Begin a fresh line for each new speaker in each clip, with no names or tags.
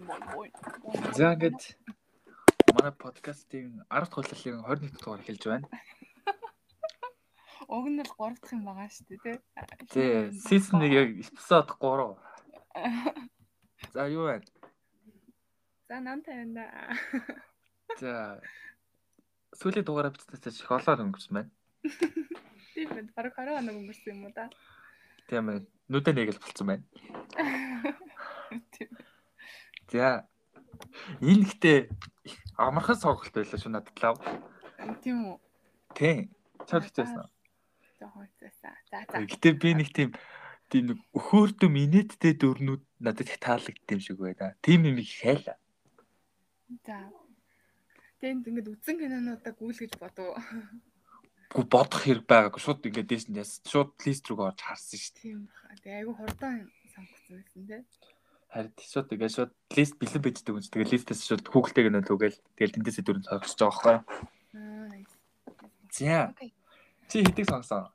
За ингээд манай подкастын 10 дахь хөлөлийн 21 дугаар эхэлж байна.
Уг нь л 3 дахь юм байгаа шүү дээ, тий.
Тий, season 1 episode 3. За юу байна?
За нам тавина.
За сүүлийн дугаараа битнээс шоколад өнгөрсөн байна.
Тийм байна. Бараг 20 хоног өнгөрсөн юм уу да?
Тийм байна. Нүдэн нэг л болцсон байна.
Тийм.
За энэ гэдэг амархан сонголт байлаа шүү надлаа.
Тийм үү?
Тийм. Чар хичээсэн.
Жохон хэцээсэн. За за.
Гэтэ би нэг тийм тийм нэг өхөөрдөм инээдтэй дөрнүүд надад их таалагдд юм шиг байна. Тийм юм их хайла.
За. Тэнд ингээд үзэн кинонуудаа гүйлгэж бодов.
Гү бодох хэрэг байгаагүй. Шууд ингээд дээс нь яс. Шууд лист рүүгээ орж харсан шүү дээ.
Тийм баха. Тэгээ айгу хурдан сонгоцсон байсан тий.
Харин тий шууд ингээд шууд лист бэлэн бичдэг юм. Тэгээ листээс шууд Google-тэй гэнэ түгээл тэгэл тэндээсээ дөрөнд сонгож байгаа байхгүй.
Аа. nice.
За.
Окей.
Чи хэдийг сонгосон?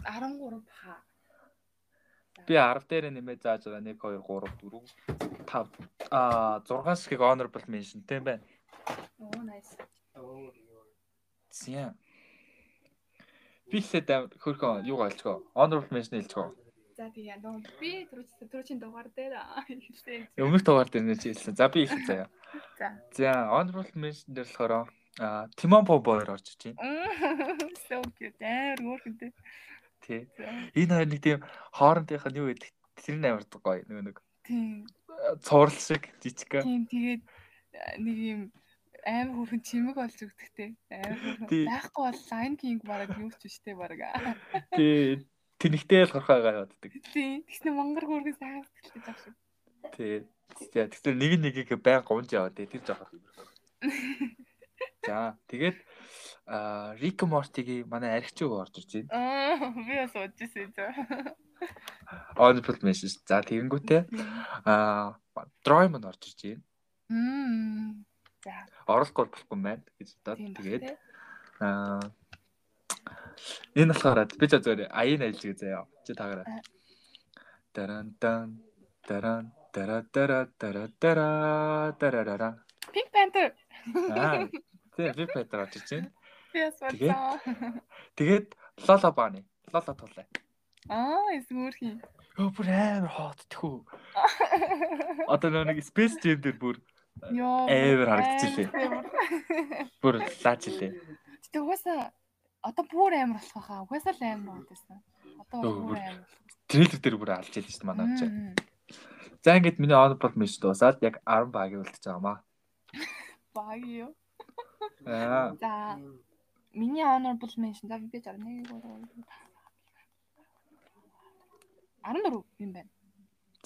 13 баха.
Би 10 дээр нэмээд зааж байгаа 1 2 3 4 5 аа 6 шиг honorable mention тийм байна.
Оо nice.
Тийм. Би хэлээд амар хөрхөн юу галчгаа. Honorable mention хэлчихв.
За тийм яа. Би түрүүч түрүүчийн дугаар дээр хэлсэн.
Өмнөх дугаар дээр нэ чи хэлсэн. За би хэлэх заяа.
За.
За honorable mention дээр болохоор аа Timon Power орж чинь.
Мм, So cute. Амар хөөрхөнтэй.
Тий.
За.
Энэ хоёр нэг тийм хоорондынх нь юу гэдэг тэр нь амар гоё нэг нэг
Тийм.
аа, цуврал шиг жижиг.
Тийм тэгээд э, нэг юм амар хөрхэн чимэг болж өгдөгтэй. Амар хөрхэн
Тий.
байхгүй бол Lion King бараг юу ч биш те бараг.
Тий. Тэнхтэй л хорхоо гаддаг.
Тийм. Тэгснэ монгор хөрхэн сайхан сэтгэлтэй жах шиг.
Тий. За тэгтээ нэг нэгийг байн гомж яваа тий тэр жоох. За тэгээд аа Рик Мортигийн манай архичиг орж ирж байна.
Аа би бас уужсэн зөө.
Honorable mention. За тэгэнгүүтээ аа Дроймон орж ирж байна.
Мм.
Оролцохгүй болохгүй байна гэж бодоод
Тийм
тэгээд
тэгээд
аа энэ болохоор би ч зөвөр аян ажиллаж заяа. Чи тагаараа.
Аа.
Даран дан даран дара дара дара дара дарарара.
Pink Panther
Аа. Тэгээд би пэтэр орж ирж байна.
би бас
Тэгээд?
уужсан.
Тэгээд лола бааны. Лола тулаа.
Аа эсгүүрхи.
Өө бүр амар хоот тхүү. Одоо нөгөө нэг Space Jam дээр бүр
Йоо.
Амар харагдчихлээ. бүр лааж илээ.
Тэгтээ угаасаа одоо бүр амар болох байхаа. Угаасаа л амар болдсон. Одоо бол
Өө,
бүр
бүр
амар болох.
Трейлер дээр бүр алж ялж шүү дээ манай авчаа.
Мм.
За ингээд миний honorable mention дуусаад яг 10 багийг үлдчихэж байгаамаа.
Баг юу?
Аа.
За миний honorable mention за би жаа 1 2 14 юм байна.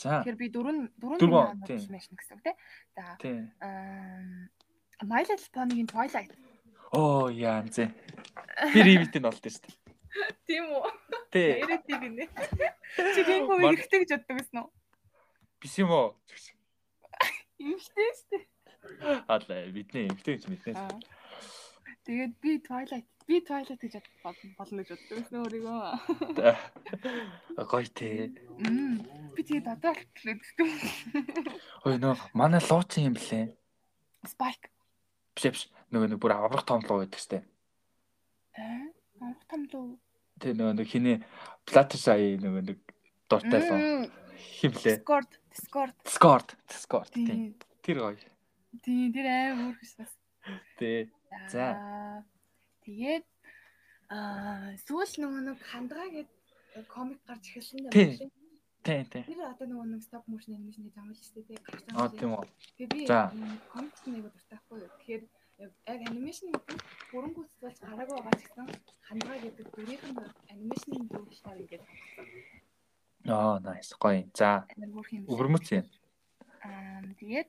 За.
Тэгэхээр би дөрөв нь- дөрөв нь
Дөрвөн,
миний honorable
тийм.
mention гэсэн үг тий. За
Тийм.
ам, My Little Pony-гийн Twilight.
Оо яа нэ. Би ревит нь олд шүү дээ.
Тийм үү?
Тий.
Эрэтий гинэ. Чи гин хөө
Мар-
ихтэй гэж боддог гэсэн үү?
Биш юм уу?
Имхтэй шүү дээ.
Алла э, бидний эмтэй гэж мэднэ.
Аа. Тэгээд би Twilight, би Twilight гэж бод- болно гэж боддог гэсэн өөрийгөө.
Гоё тий.
Мм. Би тэгээд одоо л төлөвлөдөг.
Ой нөө манай луучин юм блэ.
Spike.
Биш биш. Нөгөө нэг бүр аврах томлоо байдаг шүү дээ.
Аа. Амх тамлуу.
Тэ нөгөө нэг хинэ Flutter сая нөгөө нэг дуртай л
Мм.
химлээ.
Discord, Discord.
Discord, Discord тий.
Тийм.
Тэр гоё.
Тийм, тэр аим өөрхөс бас.
Тэ. За.
Тэгээд аа сүүл нөгөө нэг хандгаа гэд комик гарч эхэлсэн юм
Тийм.
шиг.
Тий, тий.
Тэр одоо нөгөө нэг stop motion animation-ийг замлж штэ тий. гарсан
Аа
шиг.
тийм үү.
Тэгээд би
За.
м, комикс нэг дуртайхгүй юу. Тэгэхээр яг яг анимашн хөрөнгөс болж гараагүй байгаа ч гэсэн хандгаа гэдэг дүрийн анимашны дүр болохоор ингээд
Оо nice гоё. За
амар хөөрх юм. шиг.
өвөрмөц юм.
Аа тэгээд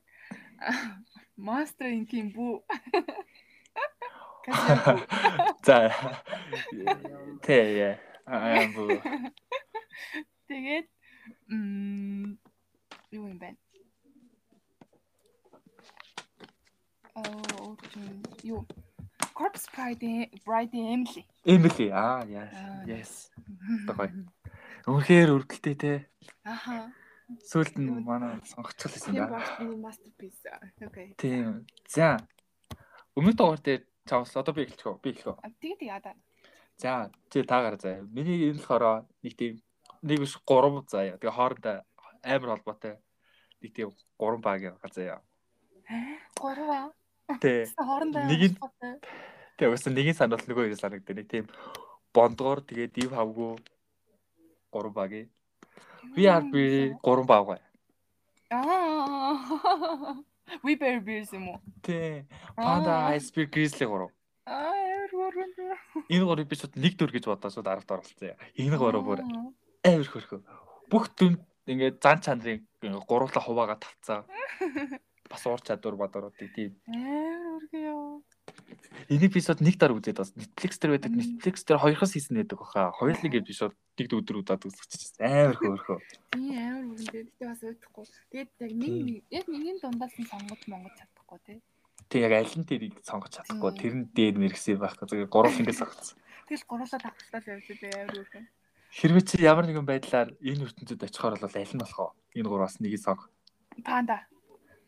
Monster Inc-ийн бүү.
За. Тэ. Аа бүү.
Тэгээд м юу юм бэ? Аа юу? Corpse Bride Bride Emily.
Эмили. Аа yes.
Аа.
Yes. Та гоё. Үнэхээр өргөлтэй те.
Аха.
Сүүлд нь манай сонгоцгол хийсэн
Тийм
да.
багш миний masterpiece. Окей.
Тийм. За. Өмнөх дугаар дээр чавс одоо би эхэлчихв. Би эхлэв.
А, Тэгээд яадаа.
За, чи таагаар заяа. Миний энэ болохоор нэг тийм нэг биш 3 заяа. Тэгээ хоорондоо амар холбоотой нэг тийм 3 баг яваа заяа.
3 аа.
Тэ.
Хоорондоо
Нэг нь-
холбоотой.
Тэ угсаа нэг нь санал нөгөө юу санагддаг. Нэг тийм бондгоор тэгээ див хавгүй 3 баг. Би яар би 3 баг бай.
Аа. We bear bears юм уу?
Тэ. Panda Ice Bear Grizzly 3.
Аа, ямар гурван дэ.
Энэ горыг би шууд нэг дөр гэж бодож шууд 10-т оролцсон. Энэ гороо бүр амар хөрхөө. Бүх дүн ингээд зан чанарын гурвлаа хуваага тавцаа. Бас уур чадвар бадаруудыг тийм.
Амар үргэ ёо.
Энийг би шууд нэг дараа үзээд бас Netflix дээр байдаг.
Мм.
Netflix дээр хоёрхос хийсэн байдаг баха. Хоёулыг би шууд нэг өдөр удаад үзчихсэн. Амар хөрхөө.
Тийм амар үргэн дэ. Гэтэ бас өөдөхгүй. Тэгээд яг нэг
Тийм.
нэг- яг нэгний дундаас нь сонгож монгож чадахгүй тий.
Тэг яг аль нь тэрийг сонгож чадахгүй.
Мм.
Тэр нь дээр мэрэгсэн байхгүй. Зүгээр гурав ингээд сонгоцсон.
Тэгэл гурлаа давхцлал явж байгаа амар үргэн.
Хэрвээ чи ямар нэгэн байдлаар энэ ертөнцид очихоор бол аль нь болох вэ? Энэ гурваас нэгийг сонго.
Панда.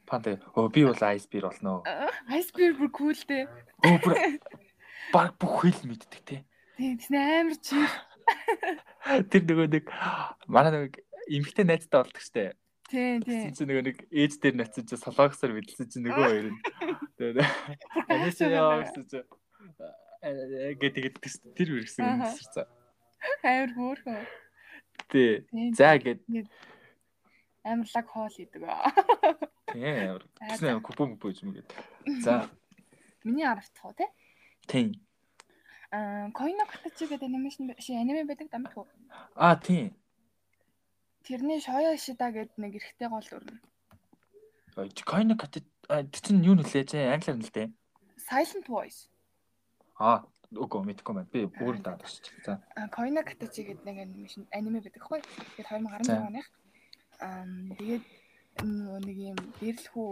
Панта өө би бол Ice Bear болно.
Ice bear бүр cool дээ.
Өө бүр баг бүх хэл мэддэг те.
Тийм тийм амар чи.
Тэр нөгөө нэг манай нэг эмгтэй найзтай болдог штэ.
Тийм
Тэгсэн
тийм.
чинь нөгөө нэг ээж дээр навцсан чинь солонгосоор мэдлсэн чинь нөгөө хоёр нь. Тэгээд Анисаа яа гэсэн чинь э, гэдэг тэр үргэсэн юм
Аха.
зэрэг.
Амар хөөрхөн.
Тий.
Тийм.
За гээд
Амар лаг хоол идэг.
тийм амар. Тэснэ амар купон купон юм гээд. За
Миний аравт хоо тий.
тийм.
Аа, Койно Катачи гэдэг анимашн биш аниме байдаг дамт хөө.
А тийм.
Тэрний Шоё Ишида гэдэг нэг эрэгтэй гол өрнө.
Coin кат тэр чинь юу нөлөө чи англиар нь л дээ.
Silent Voice.
А үгүй мэдгүй байна. Би бүр даад шүү. За.
Аа, Койно Катачи гэдэг нэг анимашн аниме байдаг хгүй. Тэгээд 2016
За.
оных. Аа, тэгээд нөгөө нэг юм дээрлэхүү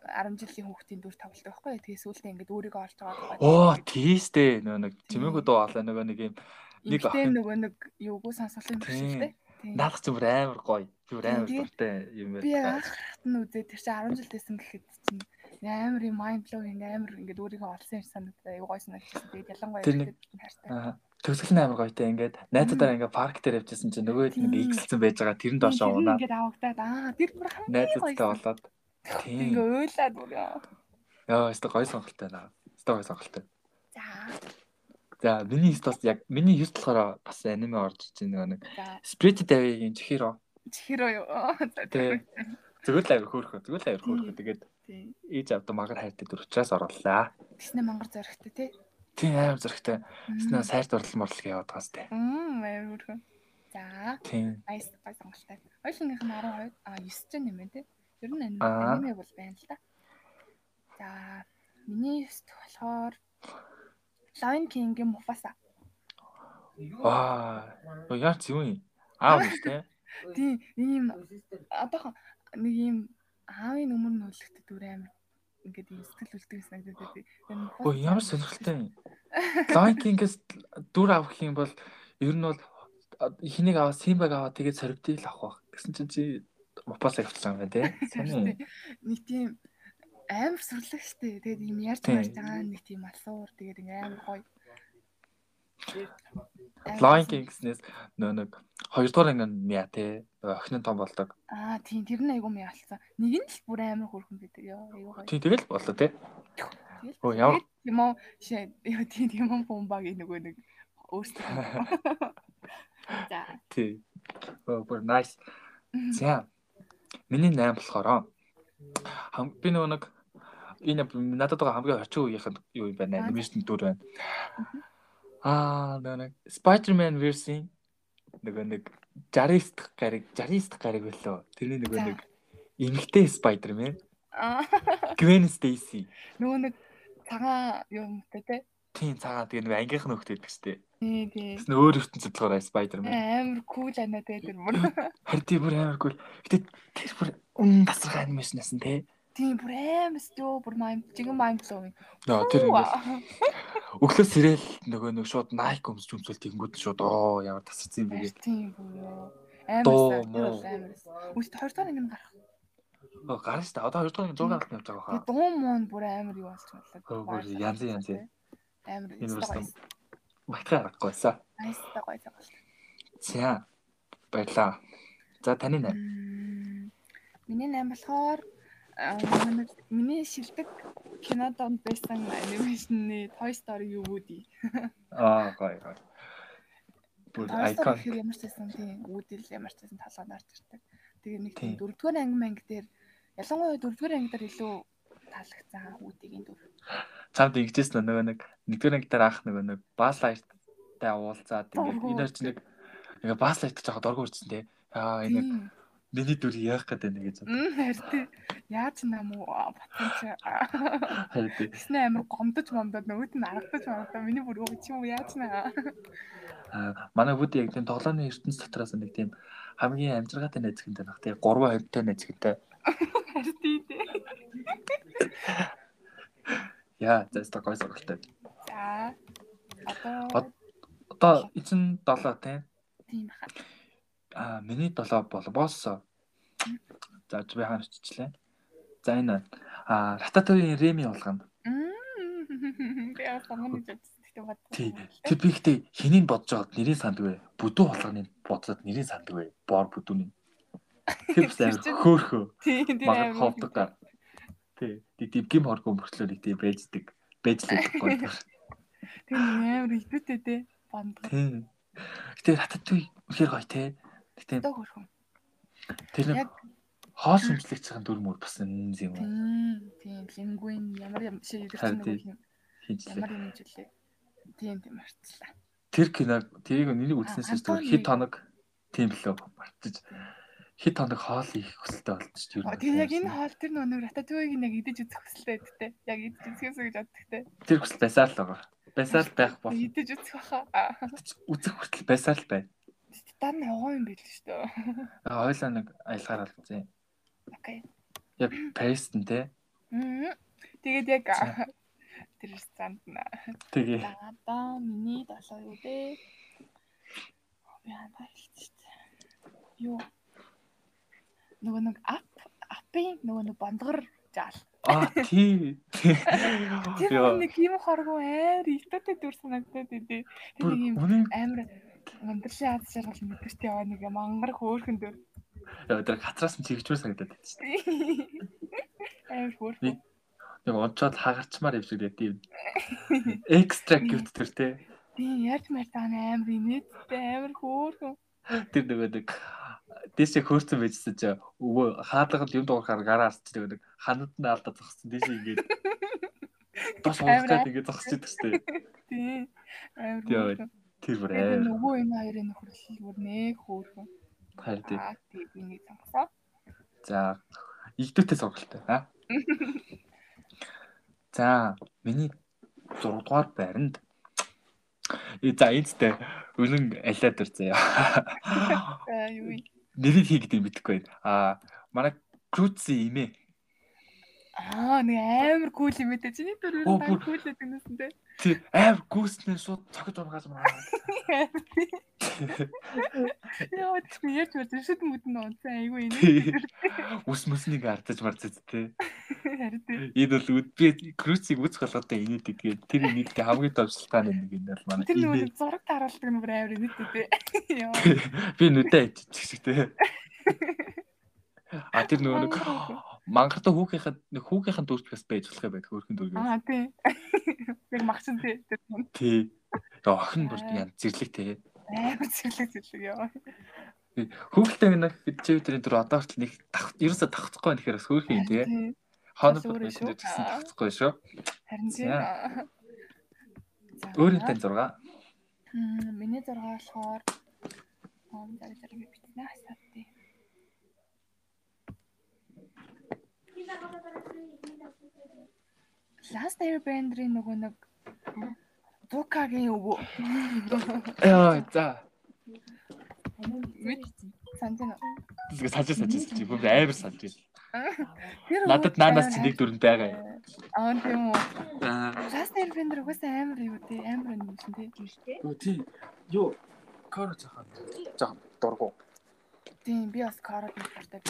10 жилийн хүүхдийн дүр тавлдаг байхгүй. Тэгээд сүүлдээ ингээд өөрийгөө олж аваад
Оо тийстэй нөгөө нэг чимээгүй дуу хоолой нөгөө нэг юм нэг
нэг
охин-
нөгөө нэг юугүй сансгалын төсөлтэй. Тийм.
наадах зүгээр амар гоё. Зүгээр
Тийм,
амар
тэгээд
дуртай юм
Би
байна.
анх хатан үзээ тэр чинь 10 жил байсан гэхэд чинь амар юм mind blowing амар ингээд өөрийгөө олсон юм санагдаа юу гойсон юм гэсэн. Тэгээд ялангуяа
Тэр нэг-
эрэгтэй хайртай.
Аа. Төгсгөл нь амар гоётэй ингээд найзуудаараа ингээд парк дээр явжсэн чинь нөгөө хэл
Тийм.
нэг ихсэлсэн байж байгаа тэр нь
Тэр
доошоо
нь
унаад
Ингээд авагдаад аа тэр бүр хамгийн
найзуудтай
гоё.
болоод тийм
Ингээ ойлаад бүрээ.
ёо өстө гоё сонголттой наа. Өстө гоё сонголттой.
За.
За миний стос яг миний хэрт болохоор бас аниме орж иж байгаа нөгөө нэг
За.
Spirit Day-ийн чихэро
Чихэрөө юу? За,
тий. Зүгээр л авир хөөрхөө. Зүгээр л авир хөөрхөө.
Тийм.
Тэгээд
тий.
ээж авдаг магар хайртай дүр учраас оруулаа.
Тэснэ мангар зоригтой тий.
Тийм амар зөрөгтэй. Тэснэ сайрт урал морал гээд яваад байгаас тээ.
Мм, амар бүрхэн. За,
Тийм.
айс гой сонголтой. Ойлынх нь 12 а 9 ч юм тий. Ер нь аним-
Аа.
аниме бол байна л да. За, миний юст болохоор Lion King-ийн Mufasa.
Аа. Оо яа ч юм. Аа үгүй тээ.
Тий, ийм одоохон нэг ийм аавын өмөр нь өлөгдөд дүр амар ингээд ийм сэтгэл үлдэх санагдаад тий.
Оо ямар сонирхолтой юм. Lion King-с дүр авах юм бол ер нь бол эхнийг аваа Симбаг аваа тэгээд соривтыг л авах байх. Тэгсэн чинь чи Мопасаг авчихсан юм байна тий. Сони.
нэг тийм амар сүрлэг штэ. Тэгээд юм ярьж
Тийм.
ярьж байгаа нэг тийм алсуур тэгээд ингээ амар гоё. Амар
Lion
гоё.
King-снээс нөө нэг хоёрдугаар анги нь яа тий. Нөгөө Охин нь том болдог.
Аа тийм тэр нь айгуу мялцсан. Нэг нь л бүр амар хөрхөн байдаг ёо. Айгуу гоё.
Тий тэгэл болоо тий.
Тэгэл.
Оо ямар
Тэгээд юм уу шээ ёо тийм тийм юм бомбагийн нөгөө нэг өөрсдөө. За.
тий. Оо бүр nice. За. Миний 8 болохоор хам би нөгөө нэг энэ надад байгаа хамгийн орчин үеийнх нь юу юм байна?
Аа.
Анимашн дүр байна. Аа нөгөө нэг Spider-Man version нөгөө нэг 69 дахь гариг 69 дахь гариг билүү. Тэрний нөгөө
За.
нэг эмгтэй Spider-Man
Аа
Gwen Stacy.
нөгөө нэг цагаан юм тэ тэ.
Тийм цагаан тэгээ нөгөө ангийнх нь хөхтэй гэдэг чтэй.
Тий тий.
Тэс нөө өөр ертөнцид болохоор Spider-Man.
Амар кул анаа тэ тэр бүр.
Харин тийм бүр амаргүй. Гэтэ тэр бүр өн тасархай анимашнаас нь те.
Тийм бүр амар ёо бүр майм чигэн майм лөө.
Нөө тэр ингээд өглөө сэрэл нөгөө нэг шууд Nike өмсч өмсөл тэгэнгүүт нь шууд оо ямар тасарсан юм бэ гэж.
Тийм бүү.
Дуу,
Амар
муу.
сайн. Амар. Үст 20 дахь ангинд гарах.
Оо, гарна шүү дээ. Одоо 2 дугаар 100 гаралтай явж байгаа
Тэгээ
хаа.
дуу муу нь бүр амар юу болж
Хөө, бүр
байна.
янз янз юм.
Амар.
Энэ
Үст
бас
гоё.
Батхан аргагүйсаа.
Айста гоё цаг болно.
За. Баярлаа. За таны нэр.
Мм, Миний найм болохоор аа, манай- миний шилдэг кинодонд байсан анимашны Toy Story юу Woody.
Аа, гоё гоё. Бүр
Toy Story
icon.
гэхээр ямар ч байсан тийм Woody л ямар ч байсан талгаан артдаг. Тэгээ нэг тийм
Тийм.
дөрөвдүгээр анги манг дээр ялангуяа дөрөвдүгээр анги дээр илүү таалагцсан Woody-гийн дүр.
Цамд игжсэн нөгөө нэг нэгдүгээр анги дээр ах нөгөө нэг бааслайттай уулзаад ингээд энэ хоёр ч нэг ингээд бааслайт гэж жоохон дөргөө үрдсэн те. Аа, энэ
Тийм.
миний дүр яах гэдэг нэг гэж.
Мм харин яаж нам уу батанч
Харин тийм.
гэснээр амар гомдож гомдоод нөгөөд нь аргадаж байна. Миний бүр юу чи юу яаж наа.
Аа, манай бүд яг тийм тоглооны ертөнц дотроос нэг тийм хамгийн амжиргаатай нэзгэнтэй баг тийм 3 2-тай нэзгэнтэй.
Харин тийм дээ.
Яа, зэстэ гой сургалтай.
За. Одоо
Од- Одоо эцэн 7 тийм.
тийм хаа.
Аа, миний 7 бол боссоо. За, би хаана очичлээ. За, энэ аа, Рататуйн Реми болгоно.
Мм. Би яасан юм гэж тэгтээ бат.
Тий. Тэр би ихтэй хэнийг бодож байгаад нэрийн сандгүй. Бүдүү болгоны бодсод нэрийн сандгүй. Бор бүдүүний. Тэр бас амар хөөхөө.
Тийм тийм
Мага ховдог гар. Тий. Тэг дивгим хоргоо мөртлөө нэг тийм байждаг. Байж л байхгүй.
Тийм амар идэвтэй дээ. Бондгоо.
Тий. Гэтэ рататуй үнэхээр гоё те. Гэтэ
Одоо хөрхөн.
тэр нэг
яг-
хоол шимжлэх цагийн дүр мөр бас энэ юм уу?
Тийм тийм лингвин ямар юм шиг
Харин
идэвчтэй
тийм.
юм.
Хийжлээ.
Ямар юм жилье. Тийм тийм марцлаа.
Тэр киног тэрийг нэгийг үзснээс
Антони.
зүгээр хэд хоног тийм лөө мартаж хэд хоног хоол их хүсэлтэй болчих юм.
Оо, Тэгээ яг энэ хоол тэр нөгөө рататуйг нэг идэж үзэх хүсэлтэй байдтай. Яг идэж үзэхээс гэж боддогтэй.
тэр хүсэл байсаа л байгаа. Байсаа л байх бол
Идэж үзэх баха. Аа.
үзэх хүртэл байсаа л байна.
Дан ногоо юм биш л шүү.
Аа, Хойлоо нэг аялгаар алцсан.
Окей.
Яг Паристэн те.
Мм. Тэгээд яг аа, тэр занд наа.
Тэгээ
Дагада миний долоо юу бэ? Би хандаа хэлчихсэн. Юу? Нөгөө нэг ап апын нөгөө нэг бондгор жаал.
аа тий.
Тэр
Яа,
нөгөө нэг юм хоргоо амар ихтэй дүр санагдаад идэв. Тэр
бүр
нэг юм
Үнэн
амар амьдралын аз жаргал мэдэрч яваа нэг юм ангар хөөрхөн дүр.
Яа, тэр хатраас нь чигчмэр санагдаад байна шүү дээ.
Амар хөөрхөн.
Нэг онцоод хагарчмаар явж ирээд тийм. Экстра cute тэр те.
Тийм ярьж мартаа амар инээдтэй амар хөөрхөн.
Тэр нөгөө нэг дээшээ хөөрцөн байжсэн чи өвөө хаадлагад юм дуурахаар гараа арч нөгөө нэг ханад нь алдаа зогссон дээшээ ингээд бас хоолгаад ингээд зогсож идэх шүү дээ.
Тийм. Амар
Тийм.
хөөрхөн.
Тэр бүр
Тэгээ
аим.
нөгөө энэ хоёрын нөхөрлөл бүр нэг хөөрхөн.
Харин тийм.
Аа тийм миний сонгосоо.
За игдүүтэй сургалтай аа. За миний 6 дугаар байранд Э, за энэтэй үнэн алиад төр заяа.
Аа юу юм.
Нэрийг хий гэдэг нь мэдэхгүй байна. Аа манай Круци имэ.
Аа нэг амар кул юм дэ. Чиний дүр юу
Оо, бүр.
нэг кул гэдэг нь үсэндээ.
Тий аав гүйснээр шууд цогт ургаас маа.
Яа ч юм ярьж байна. Шүд мүдэн онцгой айгүй энэ.
Тий. Ус мөснийг ардаж марцад тий.
Харин тийм.
Энэ бол үд- би Круциг үзэх болготой инээд тэгээд тэр нийтдээ хамгийн төвшлтаа нэг юм бол манай
Тэр нөгөө
имэ.
нэг зураг таруулдаг нь бүр амар инээдтэй. Яа.
Би нүдэ иччихтэй. А тэр нөгөө нэг мангартай хүүхийнхээ нэг хүүхийнхэн дүүртгээс байж болох юм байх хөөрхөн дүүргээс.
Аа тийм. Яг махчин тийм. Тэр хүн
Тий. Тэгээ охин бүр ян зэрлэг тэгээ.
Амар зэрлэг зэрлэг яа.
Хүүхэлтэй нэг чив дээр дөр одоо хүртэл нэг тах ерөөсө тахцахгүй нэхэр бас хөөрхөн юм тэгээ.
Тийм.
Хоног
Бас өөрөө
бүтэн
шүү.
гэсэн
Аа.
тахцахгүй шүү.
Харин тийм.
За.
Аа. За.
Өөрөнтэй 6.
Мм, Миний зураг болохоор он зэрэг зэрэг битнэ хасааттай. Last Air Band-ийн нөгөө нэг Дукагийн өвөө.
Яа за.
Мэд сантин.
Зүгээр сажиж сажиж чи бүр амар салж байна.
Тэр
Надад наанаас чи нэг дүрэн байгаа юм.
Аа тийм үү.
Аа.
Last Air Band-эр угаасаа амар юу тий, амар юм шин тий.
Юу тий. Юу кор жоохон жоохон дургу.
Тийм би бас кород нэг гардаг.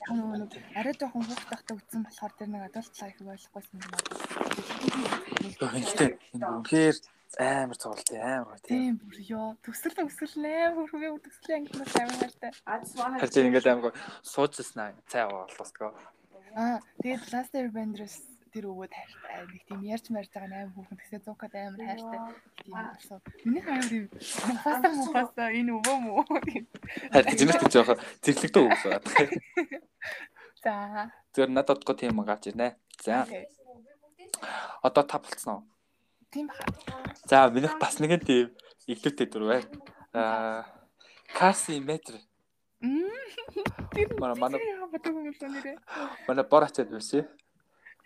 Яг нөгөө нэг арай жоохон хөөх тахта үтсэн болохоор тэр нэг адуултлаа их ойлгохгүйсэн юм байна.
Хинтэй энэ үнээр амар цовлтой амар гоё тийм.
Тийм бүр ёо төсөл төсөл нэ хөрхөө төсөл ангинаас амар хайртай.
Харин тийм ингээд амар гоё сууцсан аа цай болтосгоо.
Аа тэгээд last airbender-с тэр өвөө хайртай. Аа, Нэг тийм ярьж марж байгаа нь амар хүүхэн тэгсээ зуукад амар хайртай. Тийм болсон. Миний хайр тийм муфаса муфаса энэ өвөө мүү.
Харин зинэт гэж яхаа зэрлэгдээ өгсөн.
За.
Зүгээр надад го тийм гаач ирнэ. За.
окей.
Одоо та болцсон уу?
Тийм баха.
За минийх бас нэгэн тийм иглүүтэй дүр бай. Аа Карси метр
Мм. Тэр
Мара- манай-
бодох юм л нэрээ.
манай бор очиад байсан.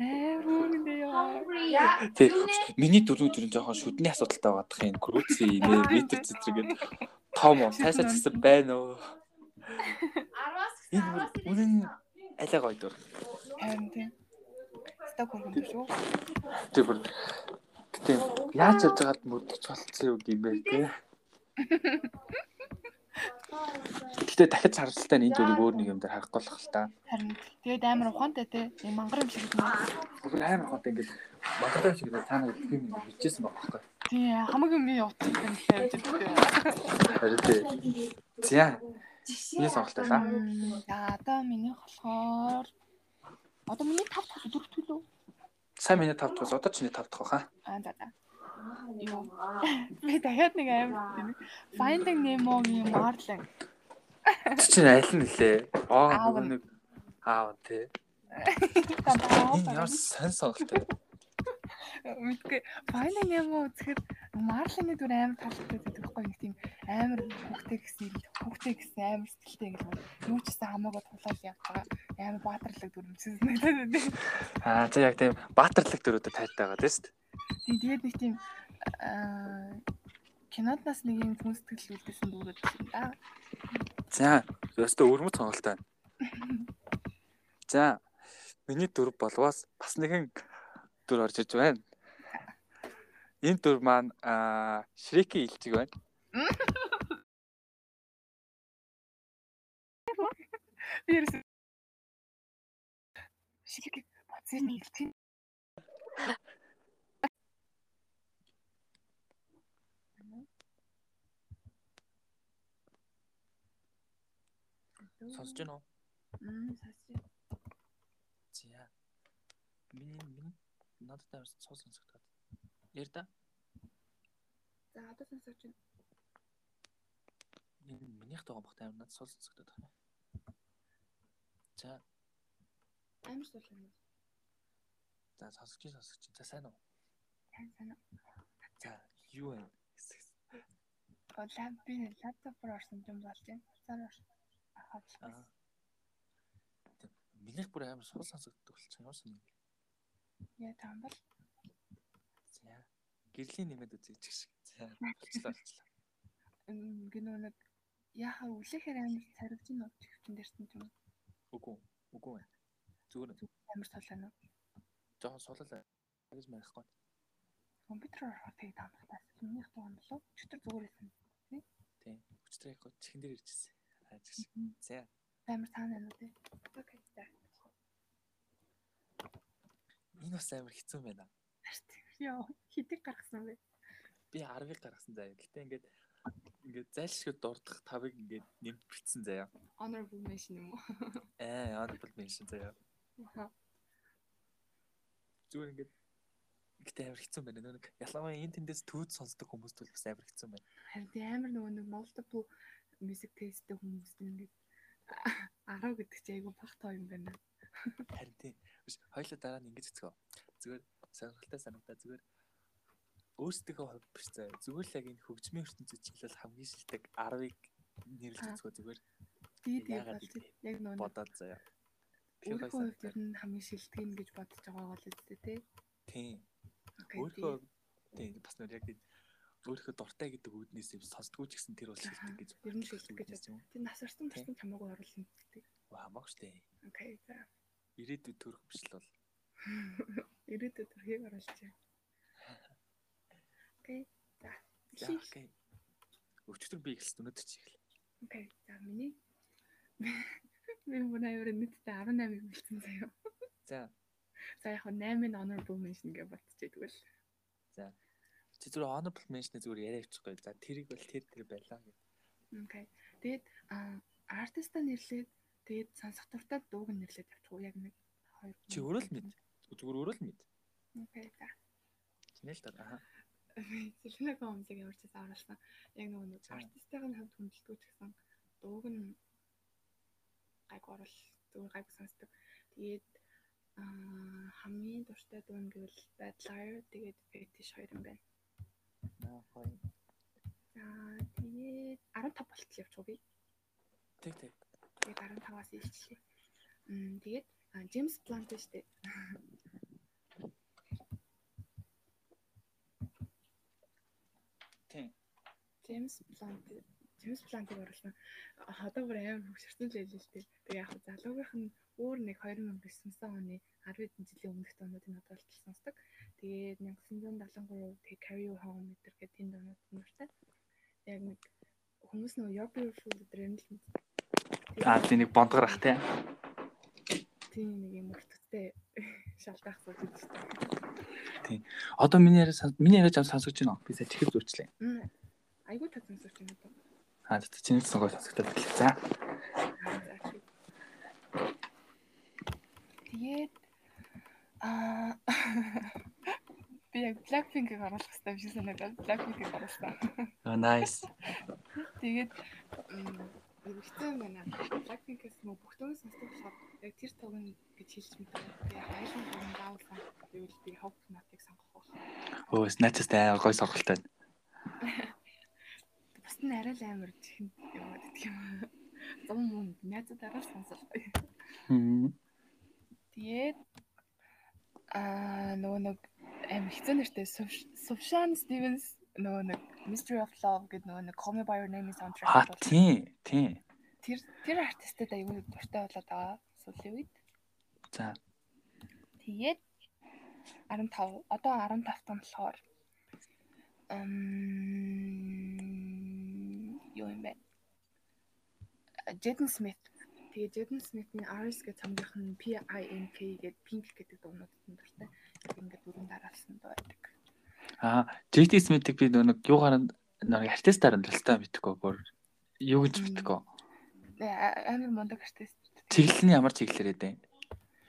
Аа мөн дээ яа.
Тэг. Миний дөрөв дөрөв жоохон шүдний асуудалтай байгаадах юм. Круци нэ метр цэцэргээд том уу цаашаа цэцэр байна уу? Энэ бүр үнэн алай гоё дүр.
Харин тийм. Сток хөргөн биш үү?
Тэг бүр тийм яаж явж байгаад мөрдөж болцсон юм гэмээр тий. Гэтэ дахид саралтай энэ дүрийг өөр нэг юм дээр харахгүй болох л та.
Харин тэгээд амар ухаантай те. Ийм мангар юм шиг байна.
Бүр амар хот ингэж багтаа шиг нэг цаана гэх юм бичсэн байна байхгүй.
Тийм хамаг юм явуулсан юм лээ явж байгаа.
Харин тий. За. Би сонголтой та.
За одоо миний болохоор одоо миний тав дахь дөрөв дэх лөө.
Сайн миний тав дахь бол одоо чиний тав дахь баха.
Аа за за. Би дахиад нэг амар тийм. Finding Nemo-гийн Marlin.
Чи чинь аль нь нэлээ?
Аав
Аа нөгөө
нь.
нэг аав тий. Энэ ямар
Мэдгүй.
сайн сонголтой.
Finding Nemo үзэхэд Marlin-ийн дүр амар таалагддаг байхгүй нэг тийм амар хөвгтэй гэсэн юм. Хөвгтэй гэсэн амар сэтгэлтэй гэж байна. Юу ч гэсэн хамаагүй тулаал явдаг. Амар баатарлаг дүр юмсэн санагдаад байна.
Аа за яг тийм баатарлаг төрөөдө тайтай байгаа тест.
Тийм тэгээд нэг тийм аа, кинод нас нэг юм хүн сэтгэл үлдээсэн дүрүүд юм да.
За. Өөртөө өрмөц сонголтой байна. За. Миний дөрв болвоос бас нэгэн дүр орж иж байна. Энэ дүр маань аа Шрекийн илжиг байна.
Би ерөөсөө шиг бацны хэлтийн
Сонсож байна уу?
Мм, сонсож байна.
За. Миний миний надад амар цус сонсогдоод. Яр да.
За одоо сонсооч байна.
Энэ минийх тоогоо бахтай амар надад цус сонсогдоод байна. За,
Амар суулгав юм.
за сонсож чинь сонсож чинь. За сайн уу?
Сайн сайн.
За, юу вэ? Хэсэг.
Голаа би лаптопор орсон юм болж байна. Цаар орсон. Ахаа.
Аа. Тэг. Минийх бүр амар цус сонсогддог болчихсон юм шиг.
Яа таам бол.
За. Гэрлийн нэмэд үзээч гэх шиг. За, болчлаа болчлаа.
Эм, гинөө нэг яхаа үлэхээр амар царвж нь овч хөвчөн дэрсэн юм.
Үгүй, үү, үгүй байна. Зүгээр нь
Амар тулаана.
жоохон сулал байна гэж мэрэхгүй.
Компьютер орохоор тэг таам бол. Минийх тоон болов. Чөтөр зүгээр байсан.
Тийм. Хүчтэй яг чихэн дээр ирчихсэн. Аа гэх шиг. За.
Амар цаана юм уу те.
Окей. За.
Энэ бас амар хэцүү юм байна.
Яа, хитэг гаргасан бэ?
би 10-ыг гаргасан заяа. Гэтэ ингээд ингээд зайлшгүй дурдах тавыг ингээд нэмж битсэн заяа.
Honorable mention юм уу?
Аа, honorable mention заяа. Зүгээр ингээд гэтэ амар хэцүү юм байна. Нөгөө Нэг ялангуяа энэ тэндээс төвд сонсдог хүмүүст бол бас амар хэцүү юм байна.
Харин тэг амар нөгөө нэг multiple music taste-тэй хүмүүст ингээд 10 гэдэг чи айгүй багтаа юм байна.
Харин тийм. Биш, Хоёулаа дараа нь ингэж эцгөө. Зүгээр сонирхолтой санагдаа зүгээр өөрсдийнхөө хувь биш заяа. Зүгээр л яг энэ хөгжмийн ертөнцид чиглэл хамгийн шилдэг 10-ыг нэрлэж
Аа.
эцгөө зүгээр
Тэгээд яг
Яагаад
бол
гэдэг
яг нөгөө нэг
бодоод заяа. Тэр
өөрийнхөө
гоё
хувьд ер нь хамгийн шилдэг нь гэж бодож байгаа бол үстэй тий.
Тийм.
Окей.
өөрийнхөө тийм бас нөр яг тийм өөрийнхөө дуртай гэдэг үүднээс юм сонсдгүй ч гэсэн тэр бол шилдэг гэж
Ер нь шилдэг гэж
бодсон юм.
тий нас орсон болсон чамаагүй оруулна гэдэг.
Уу хамаагүй шүү дээ.
Окей. За.
Ирээдүйд төрөх биш л бол
Ирээдүйд төрхийг оруулчих. Окей. За.
яах гээ. Өчтөр би ихэлсэн өнөдөр чи ихэл.
Окей. За миний Би бүр аяра нийтдээ 18-ыг үлдсэн заяа.
За
За яг нь 8-ын honorable mention гэж бодчихё тэгвэл.
чи зүгээр honorable mention зүгээр яриа авчихгүй. За тэрийг бол тэр тэр байлаа гэв.
Окей. Тэгээд аа артиста нэрлээд тэгээд сонсох дуртай дууг нь нэрлээд явчихгүй яг нэг хоёр.
Чи өөрөө л мэд. Зүгээр өөрөө л мэд.
Окей. За.
Тинэл та. Аа.
Сэлнэг гомцыг ямар ч байсан оруулсан. Яг нөгөө нэг
За.
артистайгаа нь хамт хүндэлдэг ч гэсэн дууг нь гайг орол зүгээр гайг сонсдог. Тэгээд аа хамгийн дуртай дуу нь гэвэл Bad Liar тэгээд Fetish хоёр юм байна.
Наа хой.
За тэгээд 15 болтол явчихгүй.
Тэг тэг.
Тэгээд 15-аас илчлээ. Мм тэгээд аа, James Blunt шүү дээ.
Тийм.
James Blunt James Blunt-ыг оруулсан. Одоо бүр амар хөвшөрсөн л байлээ шүү дээ. Тэгээ яг хөө залуугийнх нь өөр нэг 2009 оны 10 хэдэн жилийн өмнөх дуунууд нь одоо болтол сонсдог. Тэгээд 1973 тэг Carry You Home мэтэр гэдэг энэ дуунууд нь нуртай. Яг нэг хүмүүс нөгөө Your Beautiful өдрөө нь л мэддэг.
Аа тийм нэг бондгорах тий.
тийм нэг юм өртөттэй шалтгаах зүйл гэж байна.
Одоо миний яриа сан- миний яриа зам сонсож байна. уу? Би сая чихэл зурчлаа.
Мм. Айгуу татсан юм байна.
Аа тэг чинэл сонгой сонсогдоод ирлээ. За.
Тэгээд аа би яг Blackpink-ийг оруулах хэрэгтэй юм шиг санагдаад Blackpink-ийг оруулсан.
Oh nice.
Тэгээд хэвчээ байна. Blackpink-ээс мө бүх төгс сонсдог болохоор яг тэр тогн гэж хэлж мэдээ. Тэгээд айлын тогн даавсан. Тэгвэл би Hope Not-ыг сонгох болох.
Өө snatch-тай амар гой сонголттой.
Бас нь арай л амар чихэн юм аа гэх юм. Зам мөн найзуудаараа сонсох.
Хм.
Тэгээд аа нөгөө нэг аим хэцүү нэртэй Сув- Сувшан Стивенс нөгөө нэг Mystery of Love гэдэг нөгөө нэг Call Me by Your Name-ийн soundtrack
Аа
бол
тийм. Тийм.
тэр тэр артистад аюул дуртай болоод байгаа сүүлийн үед.
За.
Тэгээд 15 одоо 15 тань болохоор эм юу юм бэ? Jaden Smith. Тэгээд Jaden Smith-ийн Iris гэх цамгийнх нь PINK гэдэг Pink гэдэг дуунуудад нь дуртай. Ингээд бүрэн дараалсан дуу байдаг.
Аа, JT Smith-ийг би нөгөө нэг юугаар нь- нэг артистаар нь дуртай мэдтгөө бүр юу гэж
Мм.
мэдтгөө.
Э, а- Амар мундаг артист.
Чиглэл нь ямар чиглэлээр эдэ?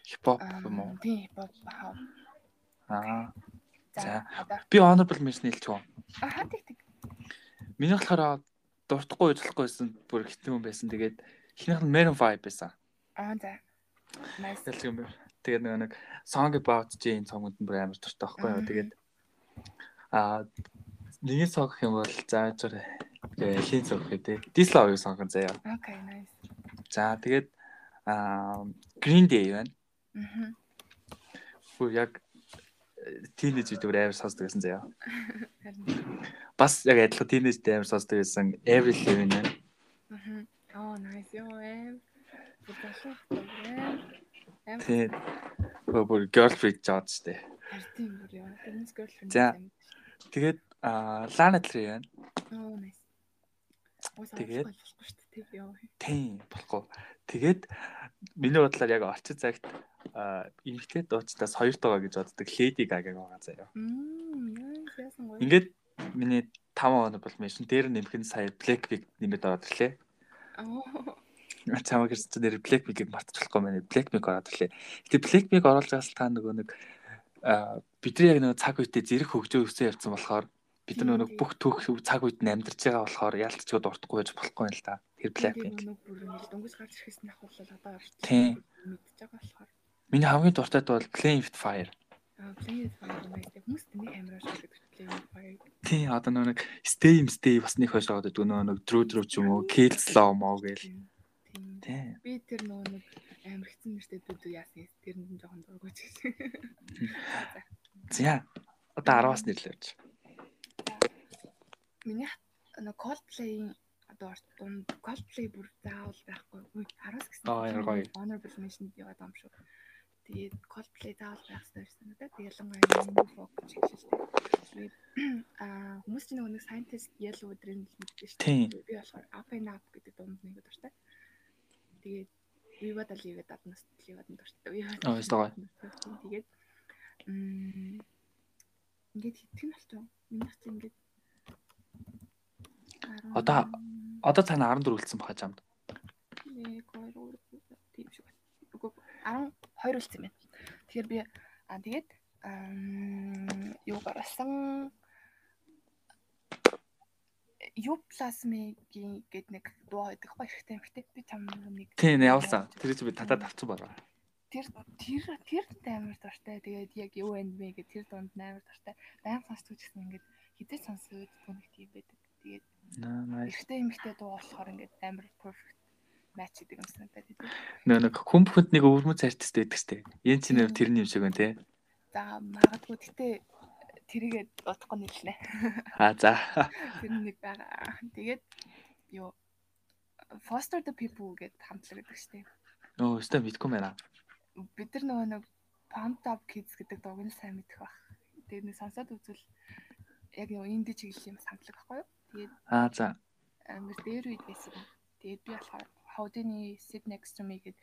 Хипхоп
Ам,
юм уу?
Тийм, хип хоп. аа.
Аа, За.
одоо
би honorable mention хэлчихв.
аа тиг тиг.
Миний болохоор дуртахгүй уучлахгүй байсан бүр хитэн хүн байсан. Тэгээд эхнийх нь Maroon 5 байсан.
Аа за. Nice.
Хэлчих юм бэ. Тэгээд нөгөө нэг Song About Jane цомгонд нь бүр амар дуртай байхгүй юу?
Мгм.
Тэгээд аа нэгэн цог гэх юм бол за зүгээр э, хийн цог гэдэг. Dislove-ыг сонгон заяа.
Okay, nice.
За тэгээд аа Green Day байна.
Мгм.
Бүр яг тийнэж үдвэр амар сонсдог байсан заяа.
Харин
Бас яг адилхан тийнэж дээр амар сонсдог байсан Avril Lavigne байна.
Мгм. Оо, nice юм эм. Бүгд
Тэгээд бүр- бүр Girl Freak жаад штэ.
хартын бүр яа. Тэрнээс girlfriend.
За. Тэгээд аа Lana Del Rey байна.
Оо, nice. Ой, сайн
Тэгээд-
болохгүй шүү дээ. Тэг яа.
Тийм болохгүй. Тэгээд миний бодлоор яг орчин цагт аа эмэгтэй дуучдаас хоёр тоо гэж боддог Lady Gaga байгаа заяа.
Мм, nice яасан гоё.
Ингээд миний 5 оноо бол мэшин дээр нэмэх нь сая Blackpink нэмээд ороод ирлээ.
Оо.
Чамаг гэсэн нэр Blackpink-ийг мартчихлахгүй мэнэ. Blackpink ороод ирлээ. Гэтэ Blackpink оруулж байгаас та нөгөө нэг аа бидний яг нөгөө цаг үедээ зэрэг хөгжөө өсөө явцсан болохоор бид нар нөгөө нэг бүх түүх цаг үед нь амьдарч байгаа болохоор яалтчгүй дуртахгүй байж болохгүй юм л та. Тэр Blackpink.
Нэг бүр ингээд дөнгөж гарч ирэхсэн давхарлал одоо гарч
Тийм.
мэдчихэж байгаа болохоор.
Миний хамгийн дуртай дуу бол Plain with Fire.
Аа, please файр мэдээ. Хүмүүст нэг амар шиг гэдэг please файр.
Тий, одоо нөгөө нэг Stay Im Stay бас нэг хойш аваад өгнө нөгөө нэг Drew Drew ч юм уу, Kill Slow моо гээл.
Тийм.
Тий.
Би тэр нөгөө нэг амар хэцэн нэртэй дүүд яасан. Тэр нь жоохон дургуй ч гэсэн.
За. Одоо 10-аас нэрлэж.
Миний х- нөө Coldplay-ийн одоо орт дунд Coldplay бүр заавал байхгүй. Үгүй 10-аас гэсэн.
Аа, яа, гоё.
Honorable mention яваад байгаа юм шүү. Тэгээд Coldplay заавал байх хэрэгтэй юм санагдаа. Тэгээд ялангуяа миний фокус чиглэлтэй. Тэгээд аа хүмүүс чинь нөгөө нэг scientist yellow өдрийн л мэддэг шүү.
Тийм.
Би болохоор Up and Up гэдэг дунд нэг дуртай. Тэгээд Viva da Live даднаас Live-д дуртай. Viva.
Аа, ёстойгоо.
Тэгээд м ингээд хитгэн болтоо. Миний хц ингээд
Одоо- Одоо цаана 14 үлдсэн баха жамд.
1 2 3 тийм шиг байна. Үгүй ээ, 12 үлдсэн байна. Тэгэхээр би аа тэгээд ам, юу гаргасан юу плазмигийн гэдэг нэг дуу байдаг ба ихтэй ихтэй би чам нэг
Тийм явуулсан. Тэр чинь би татаад авцсан байна.
тэр тэр тэр дунд амар дуртай. Тэгээд яг юу and me гэх тэр дунд амар дуртай. Баян сонсдог ч гэсэн ингээд хитэ сонсоод түүнх тийм байдаг. Тэгээд
Наа
эхтэй эмхтэй дуу болохоор ингээд амар perfect match гэдэг юм санагдаад байдаг.
нөө нэг хүн бүхэнд нэг өвөрмөц артист байдаг штэ. Энд чинь нэр тэрний юм шиг байна те.
За магадгүй гэтээ тэрийгээ утахгүй нэрлэнэ.
А за.
Тэр нэг байгаа. Тэгээд юу Foster the People гэд хамтлаг гэдэг штеп.
Нөө өстө мэдгүй байна.
Бид нар нөгөө нэг Pumped Up Kids гэдэг дууг нь сайн мэдэх баг. Тэгээд нэг сонсоод үзвэл яг нөгөө инди чиглэлийн бас хамтлаг байхгүй юу?
А за.
Амар дээр үед байсан юм. Тэгээд би болохоор Howdy-ны Sit Next to Me гэд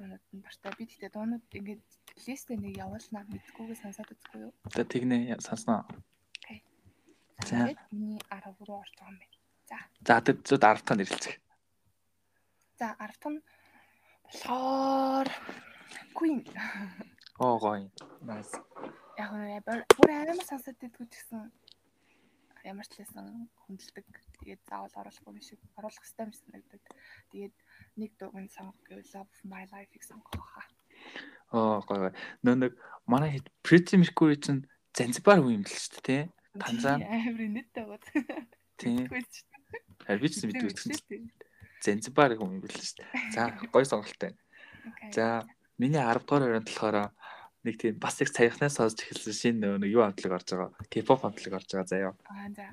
дуунууд нь дуртай. Би тэгтээ дуунууд ингээд листэ нэг явуулнаа мэдгүйгээ сонсоод үзэхгүй юу?
Одоо тэгнэ сонсноо. За.
Тэгээд миний 13 орж байгаа юм байна.
За тэр зүд 10 танд ирэлцэх.
За 10 том болохоор Queen
Оо гоё.
Nice.
яг нь бүр бүр амар сонсоод байдгүй ч гэсэн ямар ч лсэн хүндэлдэг. Тэгээд заавал оруулахгүй юм шиг оруулах хэрэгтэй юм шиг санагддаг. Тэгээд нэг дууг нь сонгох гэвэл Love of My Life-ийг сонгох хаа.
Оо гоё гоё. Нөө нэг манай хэд Pretty Mercury чинь Занзибар хүн юм л штэ те. Танзан.
амар нэттэй байгаа.
Тийм.
Тэгвэл
Харин би ч гэсэн мэдгүй гэсэн. Занзибар хүн юм л штэ. За гоё сонголттой. За миний 10 дугаар өрөөнд болохоор нэг тийм бас их саяхнаас сонсч эхэлсэн шинэ нөө нэг юу хамтлаг орж байгаа. K-pop хамтлаг орж байгаа заяа.
Аа за.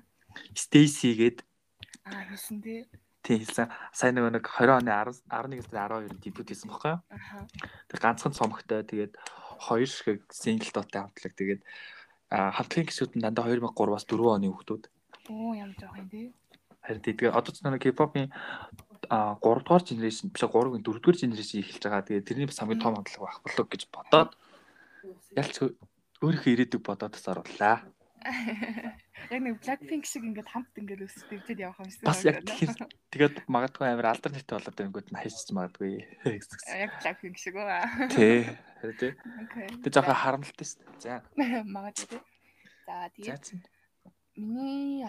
Stacy гээд
Аа хэлсэн тий.
тийм хэлсэн. Сайн нөгөө нэг 20 оны 10 11-нд 12-нд дебют хийсэн баггүй. юу?
Аха.
Тэг ганцхан цомогтой тэгээд хоёр шиг single доотой хамтлаг тэгээд а, хамтлагийн гишүүд нь дандаа 2003-аас 4 оны хүмүүс
Оо ямар жоох юм тий.
Харин тэгээд одоо ч нэг K-pop-ийн 3 дугаар generation биш 3-ийн 4 дугаар generation эхэлж байгаа. Тэгээд тэрний бас хамгийн том хамтлаг байх болов гэж бодоод ялч өөрийнхөө ирээдүг бодоод бас оруулаа.
Яг нэг Blackpink шиг ингээд хамт ингээд өсөлтөвчд явах юм шиг.
Бас яг
санагдана.
тэгэхээр тэгээд магадгүй амар альтернатив болоод ирэнгүүт нь хайчиж магадгүй.
Аа, Э, Яг Blackpink шиг аа.
Тэ. Харин тий.
Окей.
Тэ жоохон харамлалтай шүү дээ. За.
Магадгүй. За
За.
тэгээд миний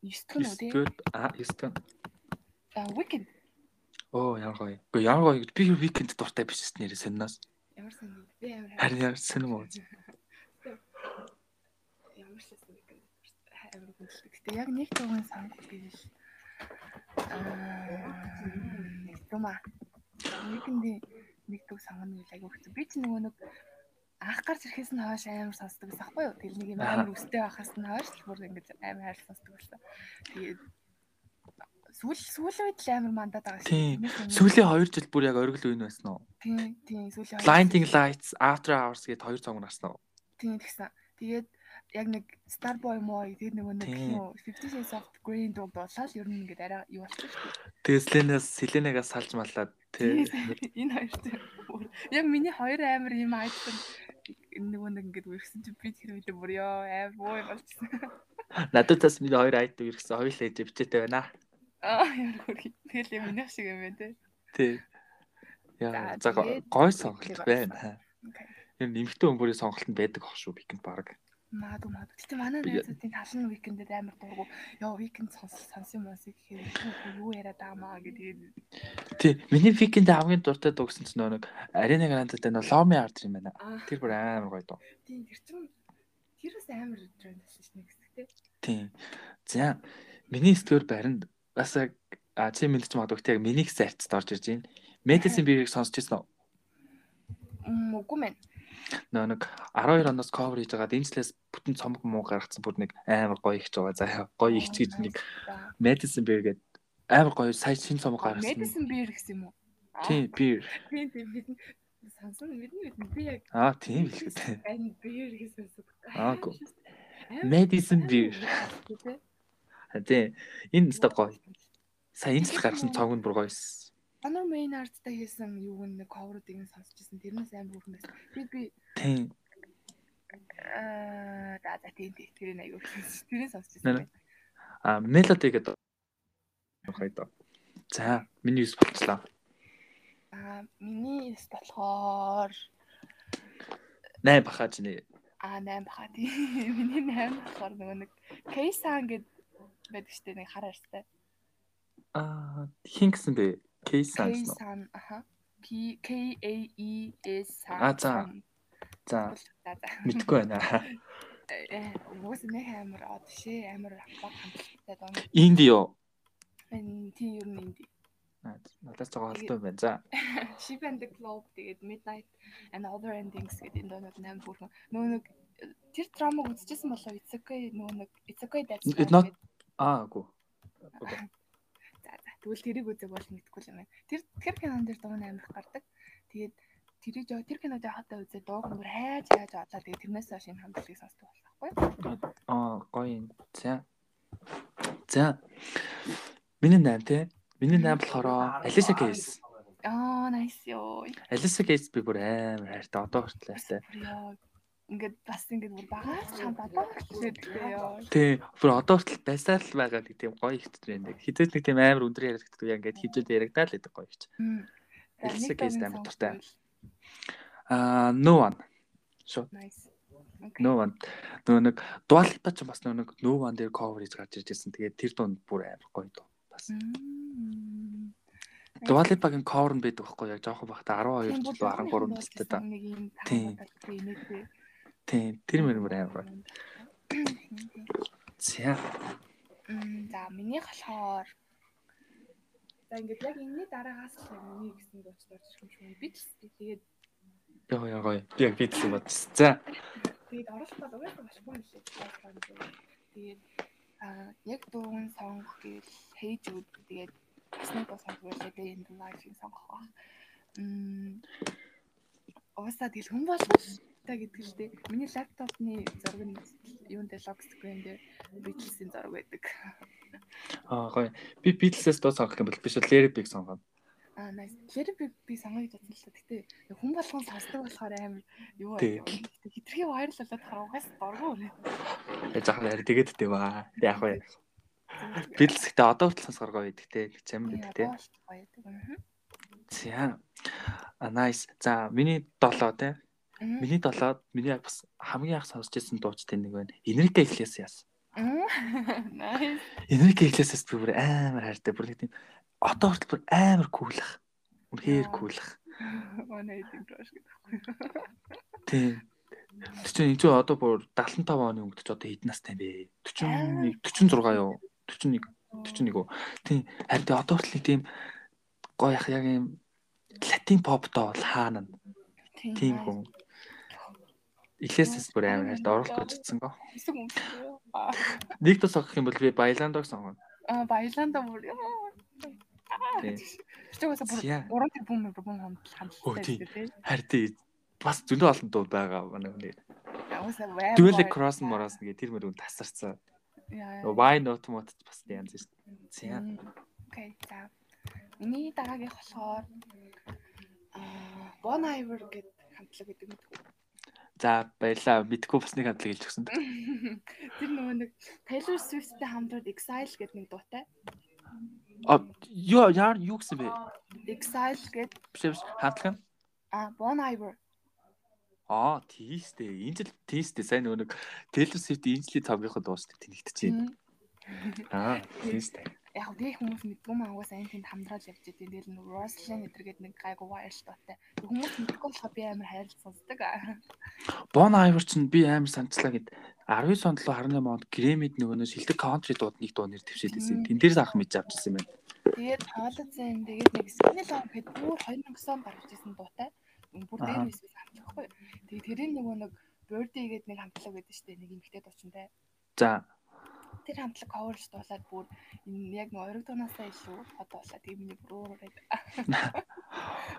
19 дэх нь үү тий.
Эсвэл а эсвэл
Аа, Weekend
оо ямар гоё. Гэхдээ ямар гоё би weekend дуртай биш шүү дээ нэрээ сонноос.
ямар сайн би амар
Харин ямар сонирм уу.
Ямар ч байсан гэдэг.
амар хүндэлдэг. Гэтэ яг нэг төгөн сонгох гэвэл аа юма нэгэндээ нэг төг сонгоно гэж айгүй хэцүү. Би ч нөгөө нэг анх гарч ирэхээс нь хойш амар сонсдог байсан байхгүй юу? Тэр нэг юм
Аха.
амар өстэй байхаас нь хойш л бүр ингэж амар хайр сонсдог байсан. Тэгээд сүүл сүүл үед л амар мандаад байгаа
Тийм.
Миний сонгоно.
Сүүлийн 2 жил бүр яг оргил үйн байсан уу?
тийм тийм сүүлийн хоёр-
Blinding Lights, After Hours гээд хоёр цаг нарсан уу?
Тийм тэгсэн. Тэгээд яг нэг Starboy мой тэгээд нөгөө нэг
Тийм.
юу 50 Shades of Grey дууг болоод ер нь ингээд арай юу болчих шүү
Тэслэнээс Селенагаас салж маллаад
дээ.
тий.
Энэ хоёр чинь бүр- яг миний хоёр амар юм айтсан нөгөө нэг ингээд үргэсэн чи би тэр үед бүр ёо амар буу болчихсон.
Надад тас миний хоёр айд ирсэн хоёул ээж бичээтэй байна.
Аа ямар хөргий. Тэгэл юм минийх шиг юм байна те.
Тий. Яа,
За,
за го-
тэгээд
гой сонголт
Weekend-ийг
байна.
Окей.
Ер нь нэмэгтэй хүмүүрийн сонголт нь байдаг ах шүү Weekend баг.
Магадгүй магадгүй. Гэтэ манай
Би-
найзуудын тал нь викендэд амар дургу. Ёо викенд сонс сонс юм уус гэхээр "Үгүй, юу яриад байгаамаа гэдэг.
Тий, миний Weekend хамгийн дуртай дуугсан чинь нөө нэг Arena Grande-тай нөө Lomi Art юм байна.
Аа.
Тэр бүр амар гоё дуу.
Тийм тэр чинь тэр бас амар тренд болсон шнэ гэсэхтэй.
Тий. За, миний стор баринд бас яг а чи мэдчих магадгүй тий яг миний гэсэн артист орж ирж байна. Medicine Beer-ийг сонсч ирсэн үү?
Мм үгүй мэн.
нөө нэг 12 оноос cover хийж байгаад энэ жилээс бүтэн цомог муу гаргацсан бүр нэг амар гоё ихч байгаа. За гоё ихч гэж нэг Medicine Beer гэдэг амар гоё сая шинэ цомог гаргасан.
Medicine beer гэсэн юм уу? Аа.
Тийм beer.
Тийм тийм бид нь сансан мэднэ мэднэ би яг
Аа тийм билээ.
энэ биер гэсэн үг.
Аа, гоо. Medicine Beer. Тийм. Энэ нэстэ гоё. Сая энэ жил гаргасан цомог нь бүр гоёсэн.
Honor Main Art-тай хийсэн юу нэг cover-уудыг нь сонсчихсан. Тэрнээс амар хурдан байсан. Тэгээд би
Тийм.
аа за за тийм тийм тэр нь аягүй хурдан. Тэрийг
Нэ,
сонсчихсан.
А мелоди гэдэг хайта. За, миний юус болчлаа.
Аа миний эс болохоор
8 бахаж нэ.
аа 8 баха тийм. Миний 8 болохоор нөгөө нэг K-san гэдэг байдаг штэ нэг хар арстай.
А хин гэсэн бэ? Кейс санс нь.
K-san аха. P K A E S san.
А, за. За,
За за.
мэдгүй байна.
Э, Уус нэг амар од шээ амар баг хамтлагтай доо.
Индио.
Энэ тийм ер нь энэ.
А, Надаас жоо холтой байна. За.
Ship and the Globe тэгээд Midnight and Other Endings гэдэг энэ доонууд нам бүрхэн. Нөө нэг тэр драмаг үзчихсэн болов Ицэкэй нөө нэг Ицэкэй дайц.
It's not- Аа, үгүй.
За за. Тэгвэл тэрийг үзэх бол мэдгүй юм байна. Тэр тэр кинон дээр дуу нь амар их гардаг. Тэгээд тэрийг жоо тэр кинод хатаа үзээ дуу хөнгөр хайж хайж олоо. Тэгээд тэрнээс хойш энэ хамтлагийг сонсдог болохгүй.
Аа, гоё юм. За. За. Миний 8 те. Миний 8 болохоор Алиса Кейс.
Аа, nice ёо.
Алиса Кейс би бүр амар хайртай. Одоо хүртэл хайртай.
Яа. Ингээд бас ингээд бүр багаас чам бадаа хэлчихээ ёо.
Тий, бүр одоо хүртэл байсаа л байгаа нэг тийм гоё ихтэй байна. Хизээд нэг тийм амар өндөр яригддаг яа ингээд хизээд яригдаа л гэдэг гоё ихч.
Мм. За, нэг
Эльсэг эс
дуугийн
амар
сонгох
дуртай.
гэвэл
Аа, no one.
Nice.
No one. Нөгөө нэг дуалипа ч бас нөгөө нэг no one дээр cover хийж гарч ирж ирсэн. Тэгээд тэр дунд бүр амар гоё дуу. Бас дуалипагийн cover нь байдаг байхгүй яг жоохон бахта 12 жил 13 настай да.
Нэг юм
Тийм.
таамаглалтай нэтээ.
Тий, тэр мөр мөр амар. гоё. За.
Мм, За, миний болохоор
За ингээд яг энэний дараагаас л яг миний гэсэн дууч дууч шиг юм. Би ч гэсэн тэгээд
Яа яа гоё. Би яг бид юм бодсон. За.
тэгээд оролт бол угаасаа болохгүй юм шиг байна.
тэгээд аа яг дууг нь сонгох гэвэл хейж үд тэгээд бас нэг бас сонгох гэдэг энэ дуугийн сонгох ба. Мм. Овсаа тэл хүн болгох та гэдэг л дээ. Миний лаптопны зураг нь юунд дээр логсгрэн дээр бичлсэн зураг байдаг.
Аа гоё. Би Beatles-ээс дуу сонгох юм бол биш Larry Big сонгоно.
Аа nice. Тэр би би сонгоё гэсэн л та. Гэтэ хүн болгон сонсдог болохоор амар юу аа.
Тий.
Гэтэ хитрхи вайрал болоод хараагаас дургу өрөө.
Э, Жаахан яри тэгээд дээ ба. Яг гоё. Beatles гэдэг одоо хүртэл сонсгор гоё байдаг те. Нэг чам байдаг те. За. А nice. За миний 7 те. Миний 7 миний яг бас хамгийн их сонсч байсан дуучтай нэг байна. Энерги Иглесиас.
Nice.
Энерги Иглесиас би бүр амар хайртай. Бүр нэг тийм одоо хүртэл бүр амар куулах. Үнхээр
Яа.
куулах.
Манай эдийн трош гэдэгхгүй.
Тийм. Тэр чинь энэ чинь одоо бүр 75 оны өнгөд ч одоо хэдэн настай юм бэ? 41 46 юу? 41 41 үү. Тийм. Харин тэ одоо хүртэл нэг тийм гоё их яг юм латин поптой бол хаана. Тийм
nice.
хүн. Иглесиас бүр амар хайртай оролт гэж утсан гоо.
Хэсэг юм. шүү. Аа
Нэг тус сонгох юм бол би Байландог сонгоно.
аа, баялаанда бүр.
Тийм.
Чигээс бүр
Зя.
уран тэр бүм бүм хамтал
Өө,
хамталтай
тий.
шүү дээ.
Харин тий, бас зөндөө олон дуу байгаа манай хүний.
Яваасаа вай.
Duel Cross Moras нэг тэр мөрөнд тасарсан.
Яа.
Why not mot ч бас янз шүү дээ.
Мм. Окей, за. Миний дараагийнх болохоор аа Bon Iver гэдэг хамтлаг гэдэг мэт.
За баярлаа. Мэдхгүй бас нэг хамтлаг хэлж өгсөнд.
Тэр нөгөө нэг Taylor Swift-тэй хамтраад Exile гэдэг нэг дуутай.
А юу яар юу гэсэн бэ?
Exile гэдэг
Биш биш хамтлаг нь.
аа Bon Iver.
Аа тийстэй. Энэ жил тийстэй. Сайн нөгөө нэг Taylor Swift энэ жилийн цовгийнхад дуусна тэнэгтчихээн. Аа тийстэй.
Яг нь тийм хүмүүс мэдгүй маа угаас айн тэнд хамтраад явж байгаа. Тэгэл нэг Roslyn гэдэг нэг гайгүй wireless дуутай. Хүмүүс мэдгүй болохоо би амар хайрлаж сонсдог. аа.
Bon Iver ч би амар санацлаа гэд 19 17 18 онд Grammy-д нөгөө нэг шилдэг country дууд нэг дуу нэр төвшөөд байсан. Тэн дээрс анх мэдж авчихсан юм байна.
Тэгээд хаалцсан тэгээд нэг Signal Love гэдэг бүр 2009 он гарч ирсэн дуутай. Бүр дээр
Аа.
байсан хамтлахгүй. Тэгээд тэрийн нөгөө нэг Birdie гэдэг нэг хамтлаг байдаг шүү дээ. Нэг эмэгтэй дуучинтай.
За
Тэр хамтлаг coverж дуулаад бүр энэ яг нэг ориг дунаасаа илүү хот дуулаа. Тэгээд миний бүр уураад.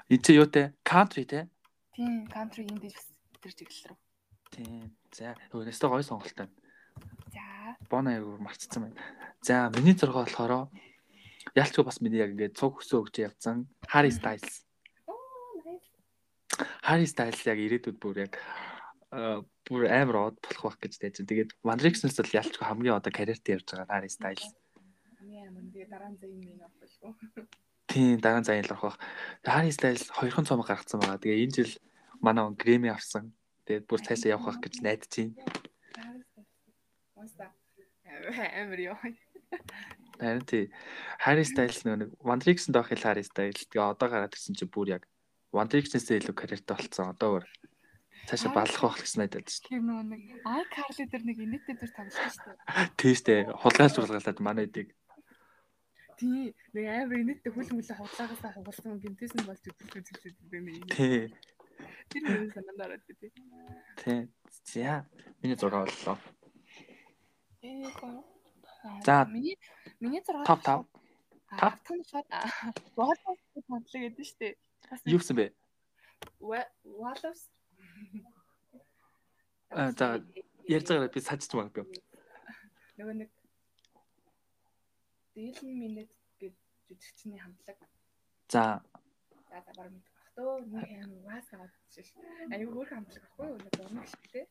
энэ чи юу те? Country те?
Тийм country indie бас тэр чиглэл рүү.
Тийм. За, өөрөөсөө гоё сонголт байна.
За,
Бон аяг марцсан байна. За, миний зурга болохоор Ялчгүй бас миний яг ингээд цуг хөсөө өгч явцсан. Harry Styles. Harry Styles яг ирээдүйд бүр яг аа, бүр амар од болох байх гэж дайж. Тэгээд Mandrix-ноос л ялчгүй хамгийн одоо карьерт явж байгаа Harry Styles.
Миний амин тэгээ дараа нь зөв юм нэг авчихгүй.
Тийм дараа нь заяалах бах. Harry Styles хоёрхан цомог гаргацсан байгаа. Тэгээ энэ жил манай он Grammy авсан. Тэгээд бүр цаашаа явах байх гэж найдаж байна.
Монста.
Амар ёо.
Харин тий. Harry Styles нөгөө нэг Wandrix-д байх хэл Harry Styles. Тэгээ одоо гараад ирсэн чинь бүр яг Wandrix-нээсээ илүү карьертай болцсон. Одоо бүр цаашаа балах байх гэсэн найдаад шүү
Тэр нөгөө нэг iCarly дээр нэг инээдтэй дүр тоглосон шүү дээ.
дээ. Тэжтэй хулгайч хулгайлаад манай эдийг
Тий. Нэг амар инээдтэй хөл мөлө худлаагаасаа хугалсан гинтээс нь болж өгдөлтэй зүйлсэд юм бэ. нэг.
тий
Тэр нэг санаанд ороод тий.
тий. За миний зураг боллоо.
Ээ гоо.
За.
миний миний зураг
Топ тав. Топ.
Тавтан шууд Wolf-ийг тоглоё гэдэг шүү дээ. Бас
Юу гэсэн бэ?
Wallace.
А, Э, за, Ярьж байгаараа би сажж магадгүй.
нөгөө нэг Dylan Minette гэж жүжигчний хамтлаг.
За
За за баг мэдэх бах төө. Нэг амар вас аваад шиш. Аюу хөөх хамтлаг байхгүй юу? Нэг дурмаг шигтэй.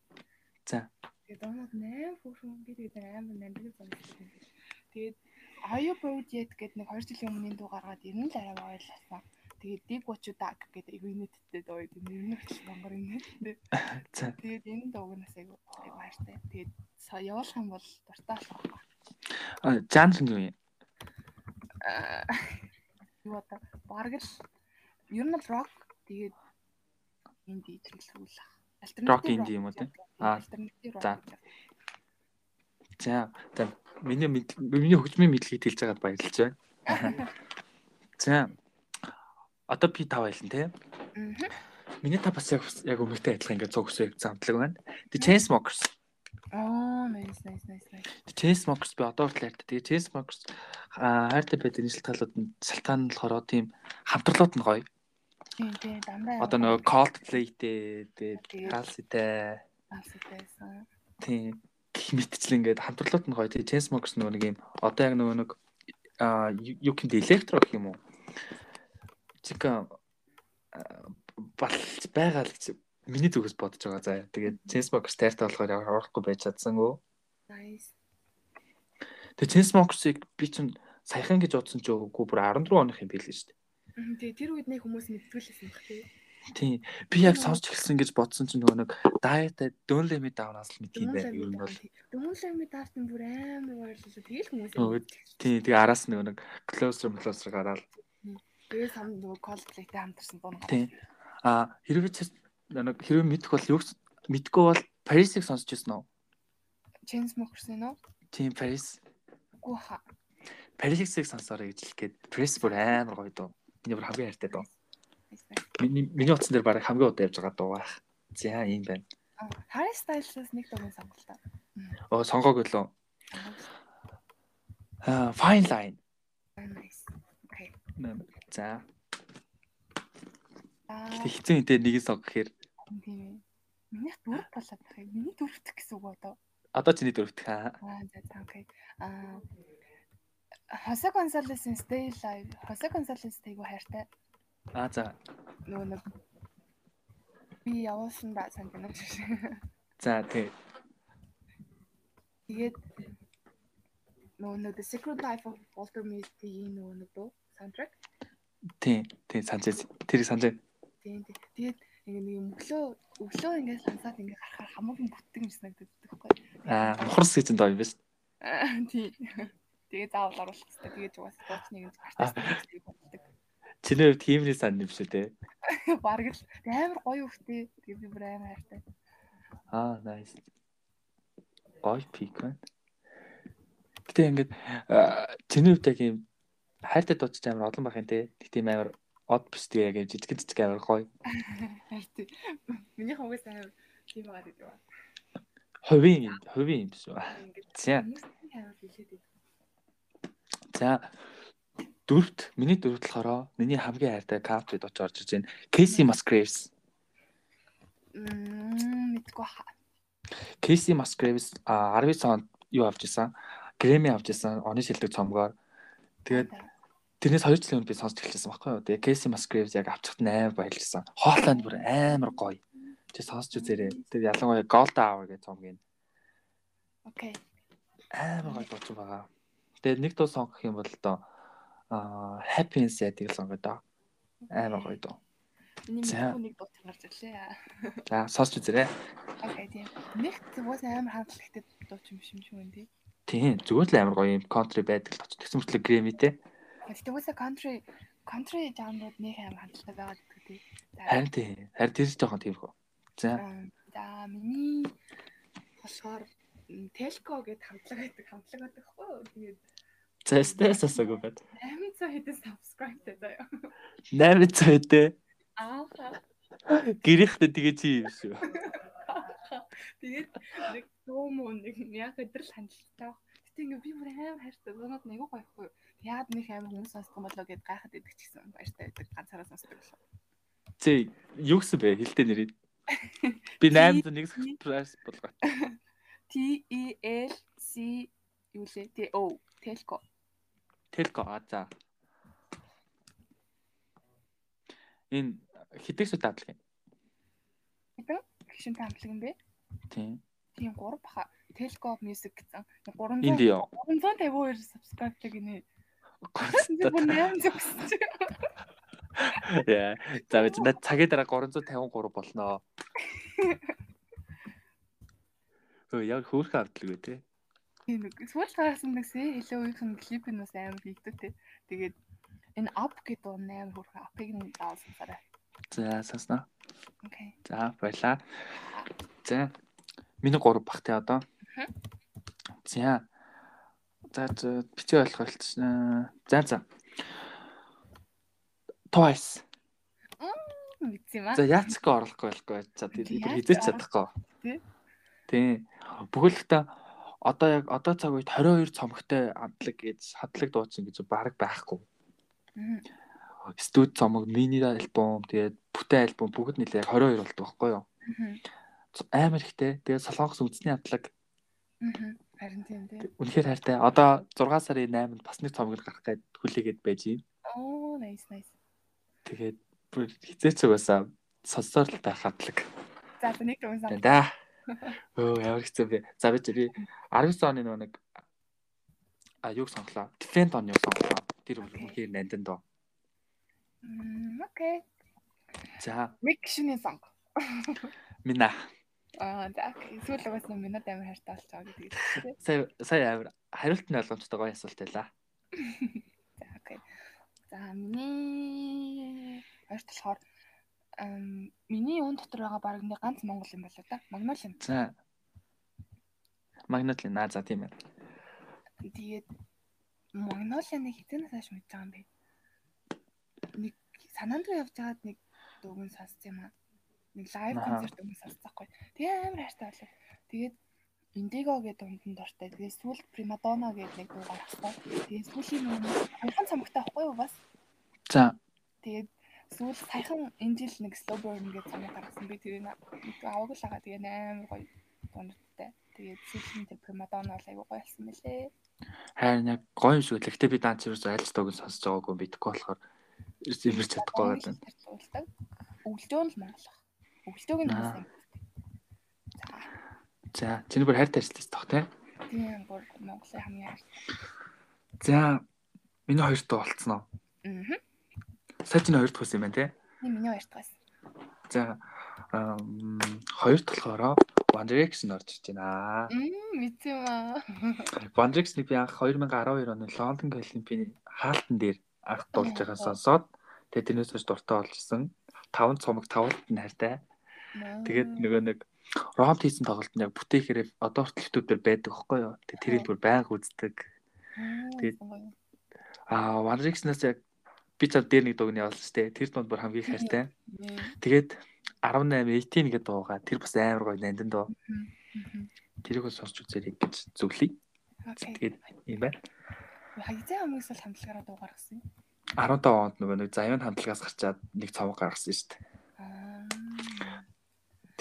За.
Тэгээд дурмаг 8 хөөрхөн би тэгээд амар намдаг зомсон.
Тэгээд Are Bold Yet гэдэг нэг 2 жилийн өмнгийн дуу гаргаад ер нь л арай ойлсаа. Тэгээд Dig What You Dug гэдэг ийг инээдтэй дуу юм. Ер нь их монгор инээдтэй.
За.
Тэгээд энэ дууг нас айгу айгу хайртай. Тэгээд са- явуулах юм бол дуртай болох байна.
а, жанр нь юу юм?
Аа, юу одоо бараг л ер нь л рок тэгээд инди төрөлхүүл ах.
Rock indie юм уу те? Аа,
альтернатив
за.
рок.
За. За миний мэд- миний хөгжмийн мэдлэгийг хэлж байгаад баярлалж байна. За. Одоо би тав байлаа те.
Мгм.
Миний та бас яг яг өмнөдтэй адилхан ингээд цог өсөө замтлаг байна. The Chainsmokers.
Оо, nice nice nice nice.
The Chainsmokers би одоо хүртэл ярьдаг. Тэгээ Chainsmokers аа, хайртай байдаг энэ шалтгаалууд нь шалтгаан нь болохоор тийм хамтарлууд нь гоё.
Тийм тийм дандаа.
Одоо нөгөө Coldplay-тэй, тэгээ Halsey-тэй
байсан.
тийм гих мэтчл ингээд хамтарлууд нь гоё. Тэгээ Chainsmokers нөгөө нэг юм одоо яг нөгөө нэг аа, юу юу юм электро гэх юм уу? Чика бал байгаа л гэж миний зүгээс бодож байгаа заа. Тэгээд Chainsmokers таартай болохоор ямар орохгүй байж чадсангүй.
Nice.
Тэгээ Chainsmokers-ыг би чинь саяхан гэж утсан ч үгүй бүр 14 оных юм билээ шүү дээ.
Мгм, Тэгээ тэр үед нэг хүмүүс мэдтгүүлсэн баг тий.
Тийм. Би яг сонсч эхэлсэн гэж бодсон чинь нөгөө нэг Diet Don't Let Me Down-аас л мэдгийм байна. Ер нь бол
Дүмүлэмийн даартын бүр амар баярлалаа. Тэгэл хүмүүс
Өө, тийм тэгээ араас нь нөгөө нэг Closer Closer гараад
тэгээ сам нөгөө колплейтэй хамтарсан дуу.
тийм. А хэрвээ чи нөгөө хэрвээ мэдэх бол юу ч- мэдгүй бол Paris-ыг сонсч ирсэн үү?
Чэнс мөхөрсөн үү?
Тийм Paris.
Үгүй хаа.
Paris-ыг сонсоорой гэж хэлгээд Paris бүр амар гоё дуу. Миний бүр хамгийн хайртай дуу.
Nice.
Миний миний утсан дээр баг хамгийн удаа явж байгаа дуу байх. За ийм байна.
Аа, Harry Styles-аас нэг дуугийн сонголтоо.
Оо сонгоогүй лөө. Аа Fine Line.
Nice. Окей.
За
Аа,
Гэтэ хэцүү үнтэй нэг нь сог гэхээр
Um, тийм ээ. Миний дөрөв болоод байх юм. Миний дөрөвт гэсэн үг одоо.
одоо чиний дөрөвт хаа.
Аа, за за окей. Аа Хосе Гонсалесын Stay Live. Хосе Гонсалестэй айгу хайртай.
Аа за.
Нөгөө нэг би явуулсан да сандана шиг.
За тий.
Тэгээд нөгөө нэг The Secret Life of Walter Mitty-ийн нөгөө нэг дуу soundtrack.
Тий. Тий санаж тэрийг санаж.
Тийм тийм. Тэгээд ингэ нэг юм өглөө өглөө ингэ сансаад ингэ гарахаар хамаг нь бүтэн гэж санагддаг байхгүй.
Аа мухарс гэж доо юм биш.
Аа, Тийм. Тэгээд заавал оруулах хэрэгтэй. Тэгээд угаасаа тооч нэг юм гартай болдог.
Чиний хувьд хиймэрийн сан юм шүү дээ.
Бараг л Тэгээд амар гоё хөвтэй. Тэгээд би бүр амар хайртай.
Аа nice. Ой пик байна. Гэтэ ингээд аа, чиний хувьд яг юм хайртай дуудаж амар олон байх юм те. Гэтэ юм амар од биш тэгээ яг юм жижиг жижиг амар гоё.
Хайртай. Миний хувьд амар тийм байгаад гэдэг байна.
Хувийн юм, хувийн юм биш үү?
Ингээд
За.
хүмүүсийн амар хилээд байдаг.
За дөрөвт миний дөрөвт болохоор миний хамгийн хайртай country-д очиж орж иж байна. Casey Musgraves.
Мм, мэдгүй хаа.
Casey Musgraves а, 19 онд юу авч исэн? Grammy авч исэн. Оны шилдэг цомгоор. Тэгээд Тэрнээс 2 жилийн өмнө би сонсч эхэлсэн байхгүй юу? Тэгээ Casey Musgraves яг авчихт 8 баярлсан. Hotland бүр амар гоё. Тэг сонсч үзээрэй. Тэр ялангуяа Gold Hour гэх цомгийн
Окей.
амар гоё дуучин байгаа. Тэгээ нэг дуу сонгох юм бол одоо аа Happy Inside-ийг сонгоё доо. Амар гоё дуу.
Миний
За.
мэдээгүй нэг дуу гарч ирлээ.
За сонсч үзээрэй.
Окей тийм. Нэгт уус амар хандлахтай дууч юм шим шим үн тий.
Тийм зүгээр л амар гоё юм country байдаг л очих. Тэгсэн мэт Grammy те.
Гэхдээ уусаа country country жанрууд нэг амар хандлахтай байгаа гэдэг тий. За,
Харин тийм. Харин тэр ч жоохон тийм хөө. За
ам, За миний
Болохоор м, Telco гэд хамтлаг байдаг, хамтлаг байдаг хгүй юу? Тэгээд
за стресс асаагүй байт.
800 хэдэн subscribeтэй заяа.
800 те.
Аа.
Гэрээхтэй тэгээ чи юм шүү.
Тэгээд нэг дуу муу нэг яг өдрөл хандлагатай баг. Гэтэ ингээ би бүр аим хайртай зунууд нэг гоё ихгүй.
яад нэг амар хүмүүс сонсдог юм болоо гэд гайхад идэг ч гэсэн баяртай байдаг ганцаараа сонсдог лөө.
Зэ юу гэсэн бэ? Хилтэй нэрээ. Би 801 surprise болгоо.
T E L C юу лээ? T O Telco.
Телко аа за. Энэ хитэйсүү дадлаг юм.
Гişin хамтлаг юм бэ?
Тийм.
Тийм 3 баха. Telco Music гэсэн. 300
Энд яа.
352 subscribe гинэ. Би бүр 800
Гонцтой.
гэсэн чи.
Яа. За бид над цагийн дараа 353 болноо. Өө яг хөөрхөн ардлаг үү те.
Тийм нэг сүүл гаргасан нэгсээ илүү үеийнхэн клип нь бас амар хийдэг те. Тэгээд энэ up гэдэг нь амар хөрхөн апыг нь даасан цараа.
За санснаа.
Окей.
За баялаа. За. Миний 3 бах те одоо. За. За за, бичиг ойлголт. э, За за. Twice.
Мэдсэн юм аа.
За яцк орлохгүй байхгүй байцаа тийм
Тийм,
ибэр
яац
хизээч
орлох-
чадахгүй.
тий.
Тийм. Бүгэлдээ одоо яг одоо цаг үед 22 цомогтой амтлаг гэж хадлаг дуучин гэж баг байхгүй.
Мгм.
Студ цомог, мини альбом, тэгээд бүтэй альбом бүгд нэлээ яг 22 болдог байхгүй юу?
Мгм.
Ц- Амар ихтэй. Тэгээд солонгос үндэсний амтлаг
Мгм. Харин тийм те.
үнэхээр хайртай. Одоо 6 сарын 8-нд бас нэг цомог гарах гээд хүлээгээд байж юм.
Оо, nice nice.
Тэгээд бүр хизээч угаасаа сонсоор л байх амтлаг.
За за нэг юм сан.
Тэнда. Оо ямар хэцүү бэ. За бид би 19 оны нөгөө нэг а юг сонглоо. Defend on-ыг сонглоо. Тэр бол
Окей.
үнэхээр нандин доо.
Мм, Окей.
За
Нэг гişний сан.
мина.
Аа, за. Сүүл угаасан минад амар хайртай болж байгаа гэдэг. тий.
Сая сая амир хариулт нь ойлгомжтой гоё асуулт байлаа.
За, окей. За, миний хоёр талхаар эм миний үн дотор байгаа баг нэг ганц монгол юм болоо да. Магнолин.
За. Магнолин аа за тийм байна.
Тэгээд магнолины хитэнээс хаш мэдж байгаа юм бэ. Нэг санаанд руу явж байгаад нэг дөгөн сонссон юм аа. Нэг лайв
Аха.
концерт өмнө сонсцоохгүй. Тэгээ амар хайртай болоо. Тэгээд Индиго гэдэг дундын дуртай. Тэгээд сүүлд Примадона гэдэг нэг дуу гаргасан. Тэгээд сүүлийн нэг хайхан цамгтай байхгүй юу бас?
За
Тэгээд сүүл саяхан энэ жил нэг slow burn гэж цамаа гаргасан. Би тэрийг аваг л хагаа. Тэгээд амар гоё дундтай. Тэгээд сүүлийн тэр Примадона бол айгүй гоё болсон мэлээ.
хайрна гоё юм шүү. Гэхдээ би данч юу айлч тоог нь сонсож байгаагүй мэдхгүй болохоор имэрч чадахгүй
Монгол
байгаа юм.
хэлээр дуулдаг. Өвлжөө нь л монгол. Өвлжөөг нь бас
Аа.
юм. За,
За чиний бүр хайртай ажиллаж тох те.
тийм бүр монголын хамгийн ард.
За миний хоёр тоо болцсон аа.
Аа.
Сая чиний хоёр дахь ус юм байна те.
Тийм миний баярт гас.
За ам, хоёр толгоороо One Direction орж иж байна.
Мм, мэдсэн юм аа.
One Direction-ийг би анх 2012 оны Лондон Олимпийн хаалтан дээр анх дуулж байгаа
Мгм.
сонсоод тэгээд тэрнээс хойш дуртай болсон. Таван цомог тавалтанд нь хайртай. Тэгээд нөгөө нэг Ромд хийсэн тоглолт нь яг бүтээхээрээ одоо хүртэл YouTube дээр байдаг байхгүй юу? Тэгээд тэрийг бүр байнга үздэг.
тэгээд
тэгээд- Аа One Direction-аас яг би цав дээр нэг дууг нь явуулсан шүү дээ. Тэр дунд бүр хамгийн их хайртай. Тэгээд 18 18 гэдэг дуугаа тэр бас амар гоё нандин дуу. Тэрийг бол сонсч үзээрэй гэж зөвлөе.
Окей.
Тэгээд юм байна.
Хагцаа хамгийн сул хамтлагаараа дуу гаргасан.
15 онд нөгөө нэг заяан хамтлагаас гарчаад нэг цавг гаргасан шүү дээ.
Аа.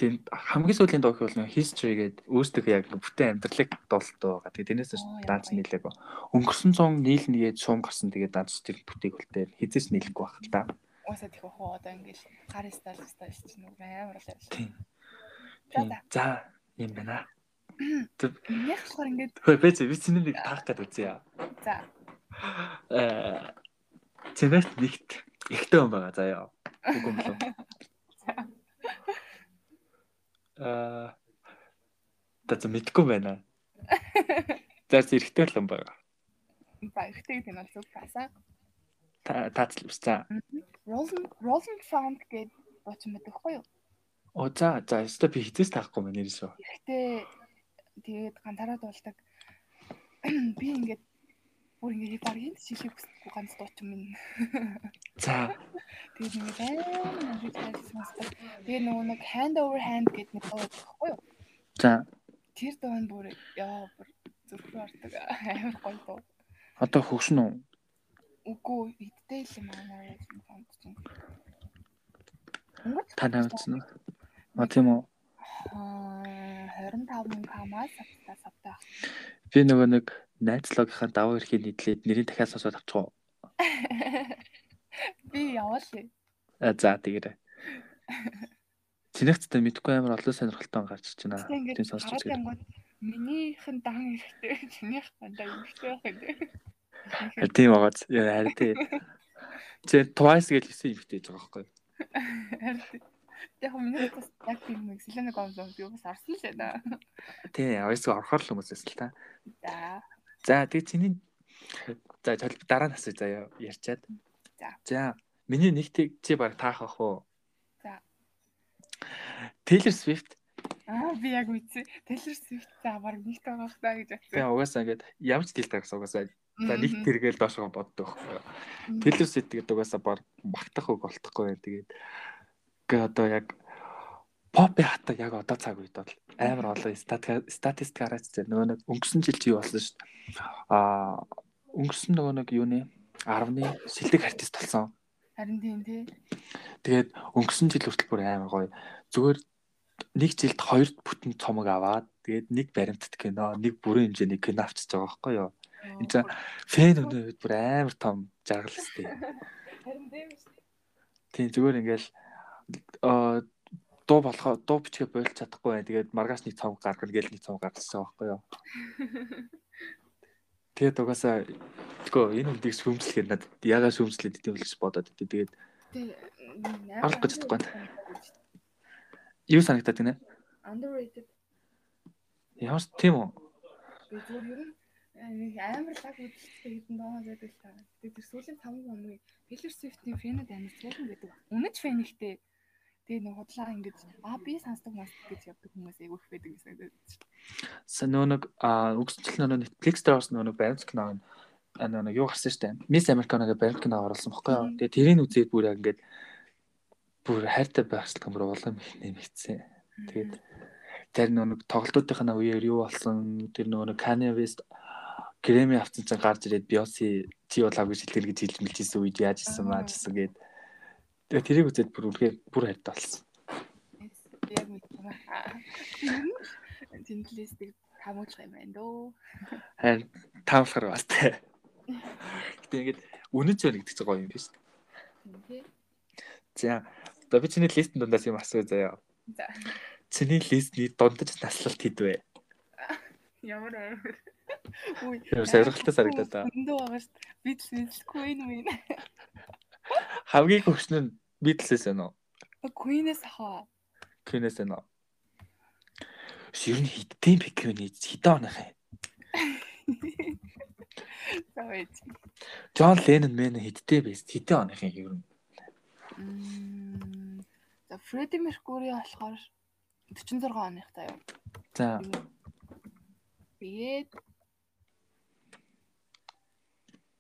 тийм хамгийн сүүлийн доохон бол нэг history гэдэг өөрсдөө яг нэг бүтэн амьдралыг дуулдаг байгаа. Тэгээ тэрнээс
Оо, яа.
данц нийлээг. ба. Өнгөрсөн 100 нийл нэгээд сум гарсан тэгээ данц тэр бүтээгүүлтэй хизээс нийлэх байх л да.
Уусаа тийх бах уу одоо ингээл гар стайл стайл чинь нүг амар л явж.
Тийм.
За,
Тийм.
за.
За юм байна.
Минийх болохоор ингээд
Хөөе бэ чи би чиний нэг таах гэдэг үзье.
за
Э цэвэрт нэгт ихтэй юм байгаа заа ёо. Үг юм болов. Э тац мэдгүй байна. За зэрэгтэй л юм байгаа.
за ихтэй гэдэг нь бол зүг басаа.
Та тацлвчаа.
Roland Roland Found гэдэг бочин мэт байхгүй юу?
Оо за за өстө би хитээс таахгүй мэн нэрсөө.
Ихтэй тэгээд ганцаараа дуулдаг. Би ингээд бүр ингээд багийн шилхийг хүсэхгүй ганц дуучин минь.
За
Тэгээд ингээд амар их тайлбарласан. Тэгээд нөгөө нэг hand over hand гэдэг нэг дуу байхгүй юу?
за
Тэр дуу нь бүр ёо бүр зүрхрүү ордог. Амар гоё дуу.
одоо хөгшин үү?
Үгүй идтэй л юм аа Roland Found. Өнгөт
Та намдсан уу? А тийм үү.
Аа, 25 мөнгө хамаа савтаа савтаа.
Би нөгөө нэг найзлагийнхаа даваа эрхийн нийтлээд нэрийг дахиад сонсоод авчихгүй.
Би яваалээ.
А, Э, За тэгээрэй. Чинэгцтэй мэдгүй амар олон сонирхолтой он гарч иж байна.
Тэ ингээд
Тийм сонсч
гараад
байгаа.
янгууд минийх нь дан эрэхтэй, чинийх нь дан эрэхтэй байх юм тий.
Тийм байгаа. зү. Яа, Харин тий. Чи twice гэж хэлсэн юм хтэй байгаа байхгүй. юу?
Харин тий. Яг миний бас яг тийм нэг Селена Гомес юу бас арсан л байна.
Тий, авьс орохоор л хүмүүсээс л та.
За.
За тэгээ чиний за толь- дараа нь асууя заяа ярьчаад.
За.
За миний нэгтийг чи баг таах ах уу?
За.
Taylor Swift
Аа би яг үгүй. Taylor Swift за баг нэгт байгаах та гэж
би
бодсон.
угаасаа ингээд явж дэлдэг гэсэн угаасаа. За нэг тэргээл доошгоо боддог.
Мгм.
Taylor Swift гэдэг угаасаа баг магтах үг болтохгүй байна. Тэгээд гээ одоо яг Попи хата яг одоо цаг үед бол амар олон статистик статистик гараад ирсэн. Нөгөө нэг өнгөрсөн жил чи юу болсон шүү дээ. Аа өнгөрсөн нөгөө нэг юуны 10-ны сэлдэг артист болсон.
Харин тийм тий.
Тэгээд өнгөрсөн жил хүртэл бүр амар гоё. Зүгээр нэг жилд хоёр бүтэн цомог аваад тэгээд нэг баримтат кино, нэг бүрэн хэмжээний кино авчиж байгаа байхгүй юу? Энд чинь фэн өнөө үед бүр амар том жаргал өстэй.
Харин тийм шүү.
Тийм зүгээр ингээл аа дуу болохоо дуу бичгээ болч чадахгүй бай. Тэгээд маргааш нэг цомог гаргана гээл нэг цомог гаргасан байхгүй юу? Тэгээд угаасаа тэгвэл энэ үдийг сүмжлэхэд над ягаа сүмжлэхэд гэдэг юм л гэж бодоод өгдөө. Тэгээд
Тийм.
Арах гэж чадахгүй. юу санагтаад гинэ?
Underrated.
Ямар ч тийм үү?
Би зөв ер нь э, нэг амар лаг үйлчлэлтэй хэдэн доо байдаг л таа. Тэгээд тэр сүүлийн 5 хоногийн Taylor Swift-ийн фэнэд амар цэвэрхэн гэдэг.
Үнэч фэн ихтэй. Тэгээ нэг худлаа ингэж аа би сонсдог хүмүүс гэж явдаг хүмүүс айгүйх байдаг гэсэн дээ.
Сэ нөө нэг а өгсчл нөө Netflix дээр орсон нөө нэг баримт кино а нөө нэг юу гарсан штэ. Miss America-г баримт кино оруулсан бохгүй юу.
Мгм.
Тэгээ тэрийг үзээд бүр яг ингээд бүр хайртай байхсалтай бүр улам их нэмэгдсэн. Тэгээд тэр нөө нэг тоглолтуудынхаа үеэр юу болсон тэр нөө нэг Kanye West Grammy авсан чинь гарч ирээд Beyoncé чи болов гэж хэлтгэл гэж хэлмэлж исэн үед яаж исэн маа гэсэн гээд тэгээ тэрийг үзээд бүр үргэлж бүр хайртай болсон.
Яг мэд юм аа. Тинтлистик хамуулах юм байна дөө.
Харин таамаглахаар бас тээ. Гэтэ ингээд үнэн ч байна гэдэг чинь гоё юм биш.
Тийм тий.
За одоо би чиний листэн дундаас юм асуу заяа.
За.
Чиний листний дундаж наслалт хэдвэ?
Ямар амар. Үй.
Ямар сонирхолтой санагдаад байна.
Өндөө байгаа шүү дээ. Би төлөвлөхгүй юм байна.
Хамгийн хөгшнө нь бидлсээс байна уу?
Queen-ээс хаа.
Кинээс байна уу? Ширн хиттэй пиквэний хитэн оных юм.
За байж.
Джон Леннон мэн хиттэй биз хитэн оных юм ер нь.
Мм. За Freddie Mercury болохоор 46 оныхтай юу?
За
Тэгээд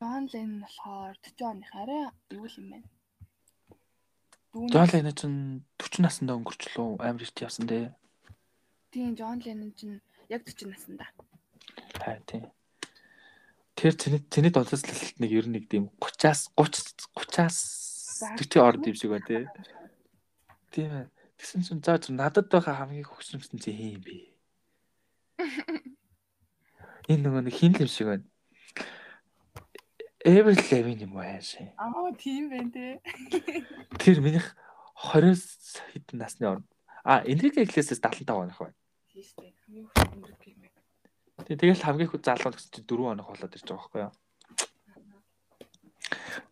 John Lennon болохоор 40 оных арай юу л юм байна. Дүүнээс-
Джон Леннон ч 40 наснда өнгөрчлөө амар ихт явсан дээ.
Тийм John Lennon чинь яг 40 наснда.
Тай тий. Тэр чиний чиний дундаж наслалт нэг ер нь нэг тийм 30-аас 30 30-аас 40 орд юм шиг байна тий. Тийм ээ. Тэгсэн чинь за зүр надад байгаа хамгийн хөгсөмсөн зүйл хин юм бэ? Энэ нөгөө нэг хин л юм шиг байна. Эвер левин юм аа шээ.
Аа тийм байна те.
Тэр минийх 20-с хэдэн насны орн. А Энрике Иглесиас 75 оных байна.
Тийштэй. Хамгийн их өндөр юм байна.
Тэг- Тэгэл хамгийн их залуу гэсэн чинь 4 оных болоод ирж байгаа байхгүй юу?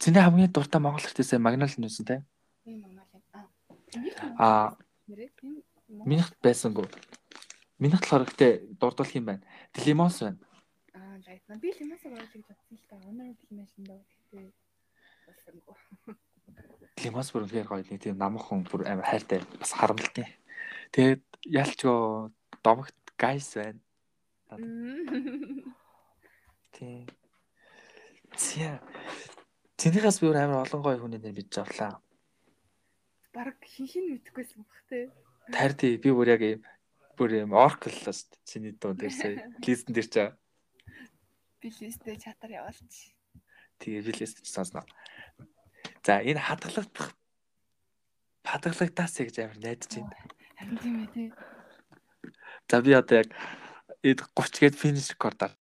Зиний хамгийн дуртай монгол хтэйсээ магнол нүсэн те.
Тийм манал юм. Аа.
А
Нэрээ тийм
минийх байсангүй. Минийх болохоор гэдэг дурдуулах юм байна. Лимонс байна.
аа лайтна. Би л юмасаа болж гэж бодсон л та. Оноор л хэмээн даа. Тэгтээ. Бассангүй.
Лимонс бүр үнээр гоё нэг тийм намх хүн бүр амар хайртай бас харамлтын. Тэгээд ялчгүй домогт гайс байна. Тийм. Тийм. Тэнийхээс би бүр амар олон гоё хүний нэр бич авлаа.
Бараг хинхэн мэдхгүйсэн бах те.
Тарди би бүр яг ийм бүр ийм оркл л шүү дээ. Чиний дунд дээрсээ листен дээр чаа.
Би листэ чатар явуулчих.
Тэгээ жилээс ч сонсноо. За энэ хадгалагдах хадгалагдаас гэж амар найдаж байна.
Харин тийм ээ те.
За би одоо яг эд 30 гээд финиш рекорд